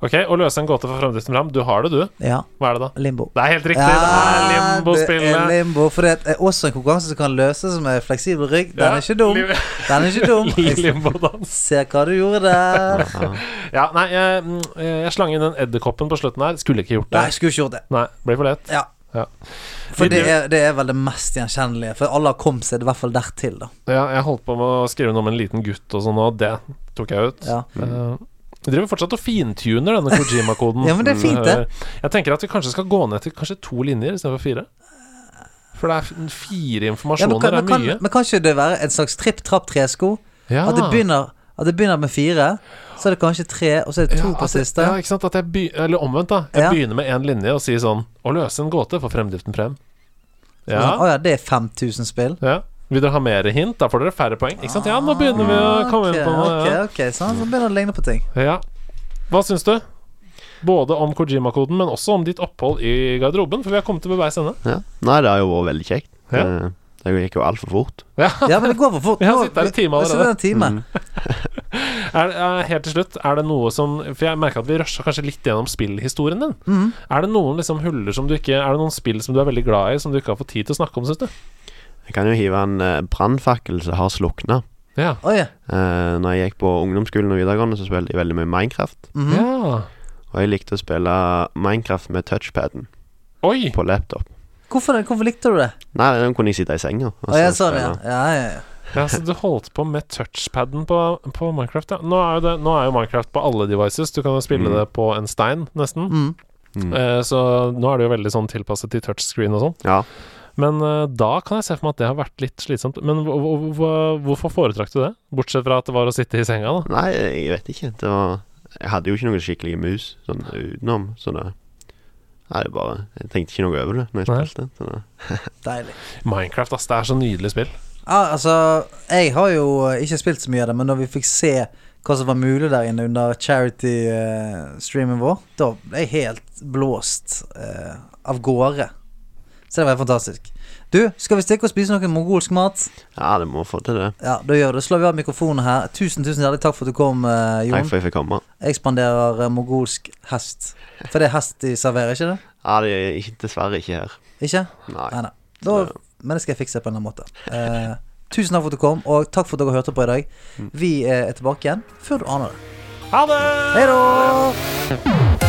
Speaker 2: Ok, Å løse en gåte for fremdriften fram. Du har det, du.
Speaker 1: Ja.
Speaker 2: Hva er det, da?
Speaker 1: Limbo.
Speaker 2: Det er helt riktig! det er
Speaker 1: Ja, Det er
Speaker 2: Limbo-spillet.
Speaker 1: limbo, for det er også en konkurranse som kan løses med fleksibel rygg. Den
Speaker 2: Ja,
Speaker 1: er ikke dum.
Speaker 2: lim-
Speaker 1: Den er ikke dum. Jeg
Speaker 2: Limbo-dans.
Speaker 1: ser hva du gjorde der.
Speaker 2: Ja, nei, jeg, mm, jeg slang inn den edderkoppen på slutten her. Skulle ikke gjort det.
Speaker 1: Nei, jeg skulle ikke gjort det.
Speaker 2: Nei, ble for lett.
Speaker 1: Ja.
Speaker 2: Ja.
Speaker 1: For det
Speaker 2: Videre.
Speaker 1: er, det er vel det mest gjenkjennelige. For alle har kommet seg i hvert fall dertil, da.
Speaker 2: Ja, jeg holdt på med å skrive noe om en liten gutt og sånn, og det tok jeg ut.
Speaker 1: Ja.
Speaker 2: Eh, jeg driver fortsatt og fintuner denne Kojima-koden.
Speaker 1: Ja, men det er fint, det.
Speaker 2: Eh, Jeg tenker at vi kanskje skal gå ned til kanskje to linjer istedenfor fire. For det er f- fire
Speaker 1: Ja,
Speaker 2: informasjoner,
Speaker 1: men, kan, men,
Speaker 2: det er
Speaker 1: kan,
Speaker 2: mye.
Speaker 1: men kan ikke det være en slags tripp-trapp-tresko?
Speaker 2: ja.
Speaker 1: At, det begynner- at det begynner med fire, så er det kanskje tre, og så er det to
Speaker 2: Ja,
Speaker 1: på
Speaker 2: at jeg-
Speaker 1: siste.
Speaker 2: Ja, ikke sant. At jeg begy- eller omvendt, da. Jeg
Speaker 1: Ja.
Speaker 2: begynner med én linje og sier sånn Å løse en gåte for fremdriften frem.
Speaker 1: Å ja. det er 5000 spill?
Speaker 2: Ja. Vil dere ha mer hint? Da får dere færre poeng. Ikke sant? Ja, nå begynner vi å komme inn på noe.
Speaker 1: Ah, Ok, ok, ok, sånn, så begynner det å ligne på ting.
Speaker 2: Ja. ja. Hva syns du? Både om Kojima-koden, men også om ditt opphold i garderoben. For vi har kommet til ved veis ende.
Speaker 3: ja. Nei, det har jo vært veldig kjekt.
Speaker 2: Ja.
Speaker 3: Det, det gikk jo altfor fort.
Speaker 2: Ja.
Speaker 1: Ja, men det går for fort.
Speaker 2: Vi har
Speaker 1: Nå-
Speaker 2: sittet her en time Mm.
Speaker 1: vi- vi har sittet her en time.
Speaker 2: Er, er, helt til slutt, er det noe som For jeg merka at vi rusha kanskje litt gjennom spillhistorien din.
Speaker 1: Mhm.
Speaker 2: Er det noen liksom huller som du ikke Er det noen spill som du er veldig glad i, som du ikke har fått tid til å snakke om, syns du?
Speaker 3: Jeg kan jo hive en eh, brannfakkel som har slukna.
Speaker 2: Ja.
Speaker 1: Å ja.
Speaker 3: Eh, når jeg gikk på ungdomsskolen og videregående, så spilte jeg veldig mye Minecraft.
Speaker 2: Mm.
Speaker 1: Mhm.
Speaker 2: ja.
Speaker 3: Og jeg likte å spille Minecraft med touchpaden
Speaker 2: Oi!
Speaker 3: på laptop.
Speaker 1: Hvorfor, det? Hvorfor likte du det?
Speaker 3: Nei, den kunne jeg sitte i senga. og
Speaker 1: Å, jeg
Speaker 3: så
Speaker 1: sa det, ja.
Speaker 3: spille.
Speaker 1: Ja, ja, ja.
Speaker 2: Ja, så du holdt på med touchpaden på, på Minecraft, ja. Nå er, jo det, nå er jo Minecraft på alle devices. Du kan jo spille
Speaker 3: Mm.
Speaker 2: det på en stein, nesten.
Speaker 1: Mm.
Speaker 3: Mm.
Speaker 2: Eh, så nå er det jo veldig sånn tilpasset til touchscreen og sånn.
Speaker 3: Ja.
Speaker 2: Men eh, da kan jeg se for meg at det har vært litt slitsomt. Men hvor- hvor- hvor- hvorfor foretrakk du det? Bortsett fra at det var å sitte i senga, da.
Speaker 3: Nei, jeg vet ikke. Det var Jeg hadde jo ikke noen skikkelige mus sånn utenom, så det Nei, det bare Jeg tenkte ikke noe over det når jeg
Speaker 2: Nei.
Speaker 3: spilte. Så det.
Speaker 1: Deilig.
Speaker 2: Minecraft, ass. Det er så nydelig spill.
Speaker 1: Ja, altså, jeg har jo eh, ikke spilt så mye av det, men da vi fikk se hva som var mulig der inne under charity-streamen vår, da ble jeg helt blåst eh, av gårde. Så det var helt fantastisk. Du, skal vi stikke og spise noe mongolsk mat?
Speaker 3: Ja, det må få til det.
Speaker 1: Ja, da gjør det. Slår vi av mikrofonen her. Tusen, tusen hjertelig takk for at du kom, eh,
Speaker 3: Takk
Speaker 1: Jon.
Speaker 3: for at jeg fikk komme.
Speaker 1: Jeg spanderer eh, mongolsk hest. For det er hest de serverer, ikke det?
Speaker 3: Ja, det er ikke, dessverre ikke her.
Speaker 1: Ikke?
Speaker 3: Nei.
Speaker 1: Nei, nei. Da,
Speaker 3: Så-
Speaker 1: men det skal jeg fikse på en eller annen måte. Eh, tusen takk for at du kom, og takk for at dere hørte på i
Speaker 3: Mm.
Speaker 1: dag. Vi eh, er tilbake igjen før du aner det.
Speaker 2: Ha det!
Speaker 1: Hei da!